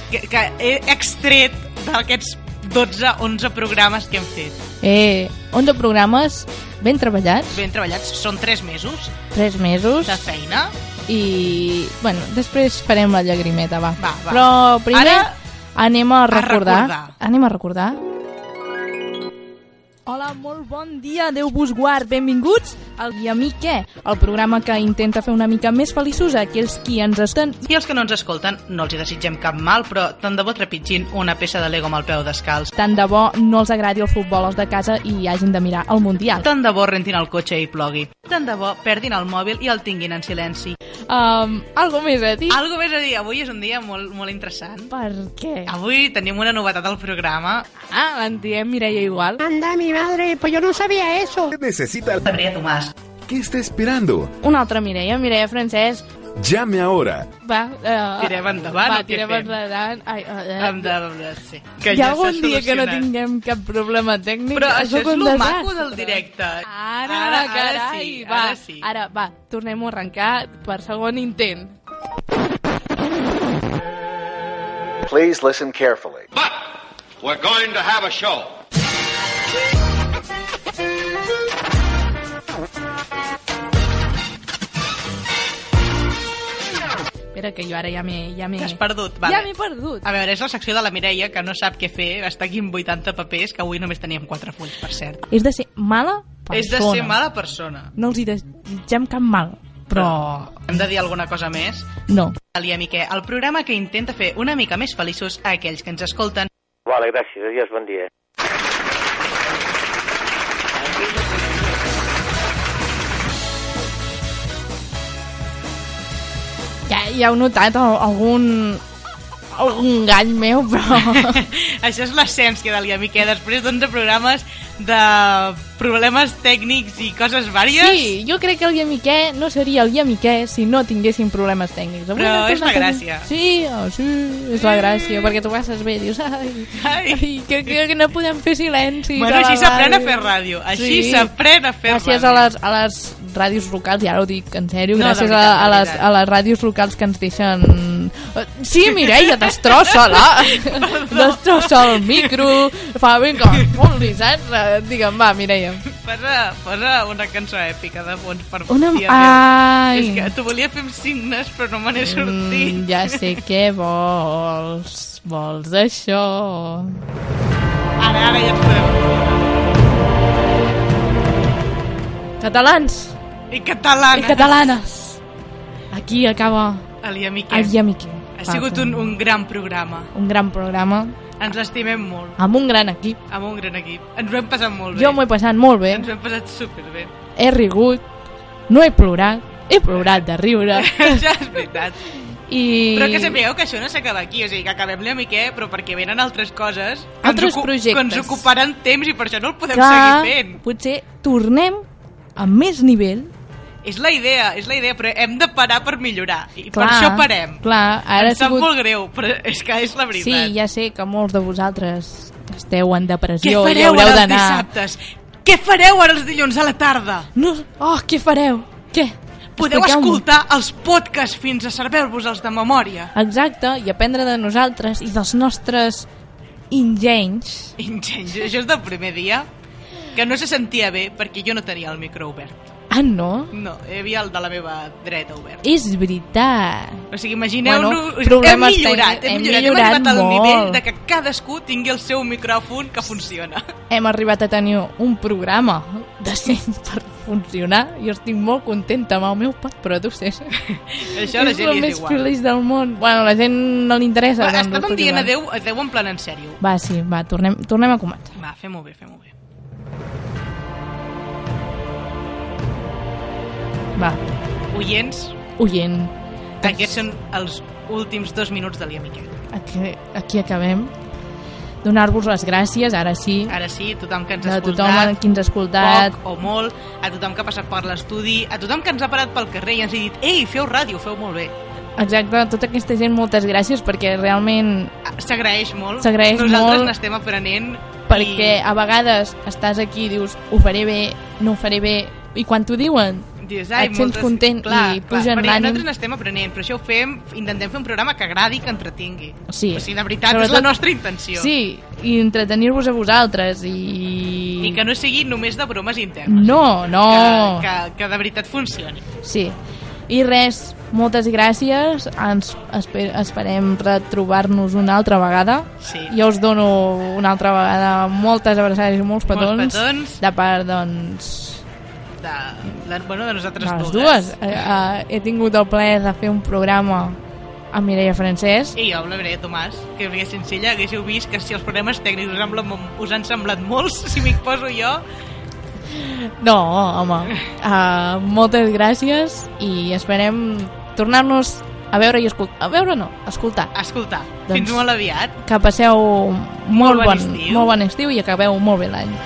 Speaker 5: que, que he extret d'aquests 12, 11 programes que hem fet.
Speaker 8: eh, 11 programes ben treballats,
Speaker 5: Ben treballats, són 3 mesos
Speaker 8: 3 mesos,
Speaker 5: de feina.
Speaker 8: i, bueno, després farem la llagrimeta, va.
Speaker 5: Va, va.
Speaker 8: Però primer
Speaker 5: Ara-
Speaker 8: anem a recordar,
Speaker 5: recordar.
Speaker 8: Anem a recordar. Hola, molt bon dia, Déu vos guard, benvinguts al I a mi què? El programa que intenta fer una mica més feliços a aquells qui ens estan...
Speaker 5: I els que no ens escolten, no els hi desitgem cap mal, però tant de bo trepitgin una peça de Lego amb el peu descalç.
Speaker 8: Tant de bo no els agradi el futbol als de casa i hagin de mirar el Mundial.
Speaker 5: Tant de bo rentin el cotxe i plogui. Tant de bo perdin el mòbil i el tinguin en silenci.
Speaker 8: Um, algo més a dir?
Speaker 5: Algo més a dir, avui és un dia molt, molt interessant.
Speaker 8: Per què?
Speaker 5: Avui tenim una novetat al programa.
Speaker 8: Ah, en diem Mireia igual.
Speaker 15: Anda, mi madre, pues yo no sabía eso.
Speaker 9: Necesita...
Speaker 5: María Tomás.
Speaker 9: ¿Qué está esperando?
Speaker 8: Una altra Mireia, Mireia Francesc.
Speaker 9: Llame ahora.
Speaker 8: Va, eh,
Speaker 5: Tirem endavant, o
Speaker 8: Va,
Speaker 5: què
Speaker 8: tirem
Speaker 5: fem?
Speaker 8: endavant. Ai, eh, eh,
Speaker 5: Hem de... Sí. ja
Speaker 8: hi ha
Speaker 5: s'ha
Speaker 8: algun dia que no
Speaker 5: solucionat.
Speaker 8: tinguem cap problema tècnic?
Speaker 5: Però això és
Speaker 8: un
Speaker 5: lo
Speaker 8: desastre.
Speaker 5: maco del directe.
Speaker 8: Ara,
Speaker 5: Ara- ara
Speaker 8: carai,
Speaker 5: sí,
Speaker 8: va,
Speaker 5: ara sí.
Speaker 8: Ara, va, tornem-ho a arrencar per segon intent.
Speaker 16: Please listen carefully.
Speaker 7: We're going to have a show.
Speaker 8: Espera, que jo ara ja m'he... Ja m'he...
Speaker 5: T'has perdut,
Speaker 8: Vale.
Speaker 5: vale.
Speaker 8: Ja m'he perdut.
Speaker 5: A veure, és la secció de la Mireia, que no sap què fer, està aquí amb 80 papers, que avui només teníem 4 fulls, per cert.
Speaker 8: És de ser mala persona.
Speaker 5: És de ser mala persona.
Speaker 8: No els hi desitgem cap mal, però...
Speaker 5: Hem de dir alguna cosa més?
Speaker 8: No.
Speaker 5: Elia Miquel, el programa que intenta fer una mica més feliços a aquells que ens escolten.
Speaker 17: Vale, gràcies. Adiós, bon dia.
Speaker 8: Ja, ja heu notat al- algun... algun gall meu, però...
Speaker 5: Això és l'essència d'Elia Miquel, després d'11 programes de problemes tècnics i coses vàries.
Speaker 8: Sí, jo crec que el Yamiqué no seria el Yamiqué si no tinguéssim problemes tècnics. Avui
Speaker 5: Però
Speaker 8: n'ha
Speaker 5: és la
Speaker 8: tornat a tenir-
Speaker 5: gràcia. Mm.
Speaker 8: Sí, oh, sí, és la gràcia, perquè tu passes bé, dius, ai, ai. que, que, que no podem fer silenci.
Speaker 5: Bueno, així s'aprèn a fer ràdio, així s'aprèn a fer
Speaker 8: gràcies
Speaker 5: ràdio.
Speaker 8: Gràcies a les, a les ràdios locals, i ara ho dic en sèrio,
Speaker 5: No, de
Speaker 8: gràcies
Speaker 5: veritat,
Speaker 8: a, a,
Speaker 5: de
Speaker 8: les,
Speaker 5: veritat.
Speaker 8: a les ràdios locals que ens deixen... Eh, Sí, Mireia, destrossa-la! destrossa el micro, fa ben com vulguis, saps? Eh, Digue'm, va, Mireia.
Speaker 5: Posa, posa una cançó èpica de fons per
Speaker 8: Una-
Speaker 5: favor.
Speaker 8: Ai.
Speaker 5: És que t'ho volia fer amb signes, però no me n'he sortit.
Speaker 8: Mm, ja sé què vols. Vols això.
Speaker 5: Ara, ara ja ens
Speaker 8: Catalans
Speaker 5: podem. I catalana.
Speaker 8: i catalanes. Aquí acaba
Speaker 5: Elia Miquel.
Speaker 8: el Yamiqui.
Speaker 5: Ha sigut un, un gran programa.
Speaker 8: un gran programa
Speaker 5: Ens l'estimem molt.
Speaker 8: amb un gran equip.
Speaker 5: Amb un gran equip. Ens ho hem passat molt bé.
Speaker 8: Jo m'ho he passat molt bé,
Speaker 5: Ens ho hem passat superbé.
Speaker 8: he rigut, no he plorat, he plorat de riure.
Speaker 5: Això és veritat.
Speaker 8: I...
Speaker 5: Però que sapigueu que això no s'acaba aquí, o sigui, que acabem la miqueta, però perquè venen altres coses que
Speaker 8: Altres
Speaker 5: ens, ocu-
Speaker 8: projectes.
Speaker 5: que ens ocuparan temps i per això no el podem
Speaker 8: Clar,
Speaker 5: seguir fent.
Speaker 8: potser tornem a més nivell.
Speaker 5: És la idea, és la idea, però hem de parar per millorar. I
Speaker 8: Clar,
Speaker 5: per això parem.
Speaker 8: Clar, ara
Speaker 5: Em
Speaker 8: ha
Speaker 5: sap
Speaker 8: sigut...
Speaker 5: molt greu, però és que és la
Speaker 8: Sí,
Speaker 5: veritat.
Speaker 8: ja sé que molts de vosaltres esteu en
Speaker 5: Què
Speaker 8: depressió i
Speaker 5: fareu
Speaker 8: haureu
Speaker 5: ara els
Speaker 8: d'anar...
Speaker 5: dissabtes? Què fareu ara els dilluns a la tarda?
Speaker 8: No, oh, què fareu? Què?
Speaker 5: Podeu
Speaker 8: Expliqueu-m'ho.
Speaker 5: escoltar els podcasts fins a saber-vos-els de memòria.
Speaker 8: Exacte, i aprendre de nosaltres i dels nostres engenys.
Speaker 5: Ingenys, això és del primer dia que no se sentia bé perquè jo no tenia el micro obert.
Speaker 8: Ah, no?
Speaker 5: No, hi havia el de la meva dreta obert.
Speaker 8: És veritat.
Speaker 5: O sigui, imagineu-nos...
Speaker 8: Bueno,
Speaker 5: hem
Speaker 8: problemes
Speaker 5: millorat,
Speaker 8: tècnics,
Speaker 5: hem
Speaker 8: hem
Speaker 5: millorat, hem
Speaker 8: millorat
Speaker 5: arribat al
Speaker 8: molt.
Speaker 5: nivell de que cadascú tingui el seu micròfon que funciona.
Speaker 8: Hem arribat a tenir un programa decent per funcionar. Jo estic molt contenta amb el meu pap, però tu sé.
Speaker 5: Això a la
Speaker 8: és
Speaker 5: gent
Speaker 8: el
Speaker 5: li
Speaker 8: més
Speaker 5: és igual.
Speaker 8: feliç del món. Bueno, la gent no li interessa.
Speaker 5: Va,
Speaker 8: doncs,
Speaker 5: estàvem
Speaker 8: escolti,
Speaker 5: dient
Speaker 8: va.
Speaker 5: adeu, adeu en plan en sèrio.
Speaker 8: Va, sí, va, tornem, tornem a començar.
Speaker 5: Va, fem-ho bé, fem-ho bé.
Speaker 8: Va,
Speaker 5: Oients,
Speaker 8: oient,
Speaker 5: aquests són els últims dos minuts de l'Ia Miquel.
Speaker 8: aquí, aquí acabem. Donar-vos les gràcies, ara sí.
Speaker 5: Ara sí, tothom que ens ha
Speaker 8: a
Speaker 5: escoltat.
Speaker 8: tothom qui ens ha escoltat.
Speaker 5: poc o molt, a tothom que ha passat per l'estudi, a tothom que ens ha parat pel carrer i ens ha dit «Ei, feu ràdio, feu molt bé».
Speaker 8: Exacte, a tota aquesta gent moltes gràcies perquè realment
Speaker 5: Ah, S'agraeix molt.
Speaker 8: S'agraeix
Speaker 5: Nosaltres
Speaker 8: molt.
Speaker 5: n'estem aprenent.
Speaker 8: perquè a vegades estàs aquí i dius ho faré bé, no ho faré bé i quan t'ho diuen
Speaker 5: Dius, ai,
Speaker 8: et sents
Speaker 5: moltes...
Speaker 8: content
Speaker 5: clar,
Speaker 8: i
Speaker 5: clar,
Speaker 8: pugen
Speaker 5: perquè
Speaker 8: l'ànim
Speaker 5: Nosaltres n'estem aprenent, però això ho fem, intentem fer un programa que agradi i que entretingui.
Speaker 8: Sí.
Speaker 5: O sigui, de veritat,
Speaker 8: Sobretot-
Speaker 5: és la nostra intenció.
Speaker 8: sí, i entretenir-vos a vosaltres i
Speaker 5: I que no sigui només de bromes internes.
Speaker 8: No, no.
Speaker 5: Que, que, que de veritat funcioni.
Speaker 8: Sí. I res, moltes gràcies. Ens esper esperem retrobar-nos una altra vegada.
Speaker 5: Sí.
Speaker 8: Jo us dono una altra vegada moltes abraçades i molts petons.
Speaker 5: Molts petons.
Speaker 8: De part, doncs...
Speaker 5: De, de, bueno, de nosaltres
Speaker 8: de les
Speaker 5: dues.
Speaker 8: dues. Eh, eh, he tingut el plaer de fer un programa amb Mireia Francesc.
Speaker 5: I jo amb la Mireia Tomàs, que hauria senzilla, haguéssiu vist que si els problemes tècnics us, semblen, mo- us han semblat molts, si m'hi poso jo,
Speaker 8: No, home. Uh, moltes gràcies i esperem tornar-nos a veure i escoltar. A veure no, escoltar.
Speaker 5: escolta,
Speaker 8: Doncs
Speaker 5: fins molt aviat.
Speaker 8: Que passeu molt,
Speaker 5: bon
Speaker 8: bon,
Speaker 5: estiu.
Speaker 8: molt bon estiu i acabeu molt bé l'any.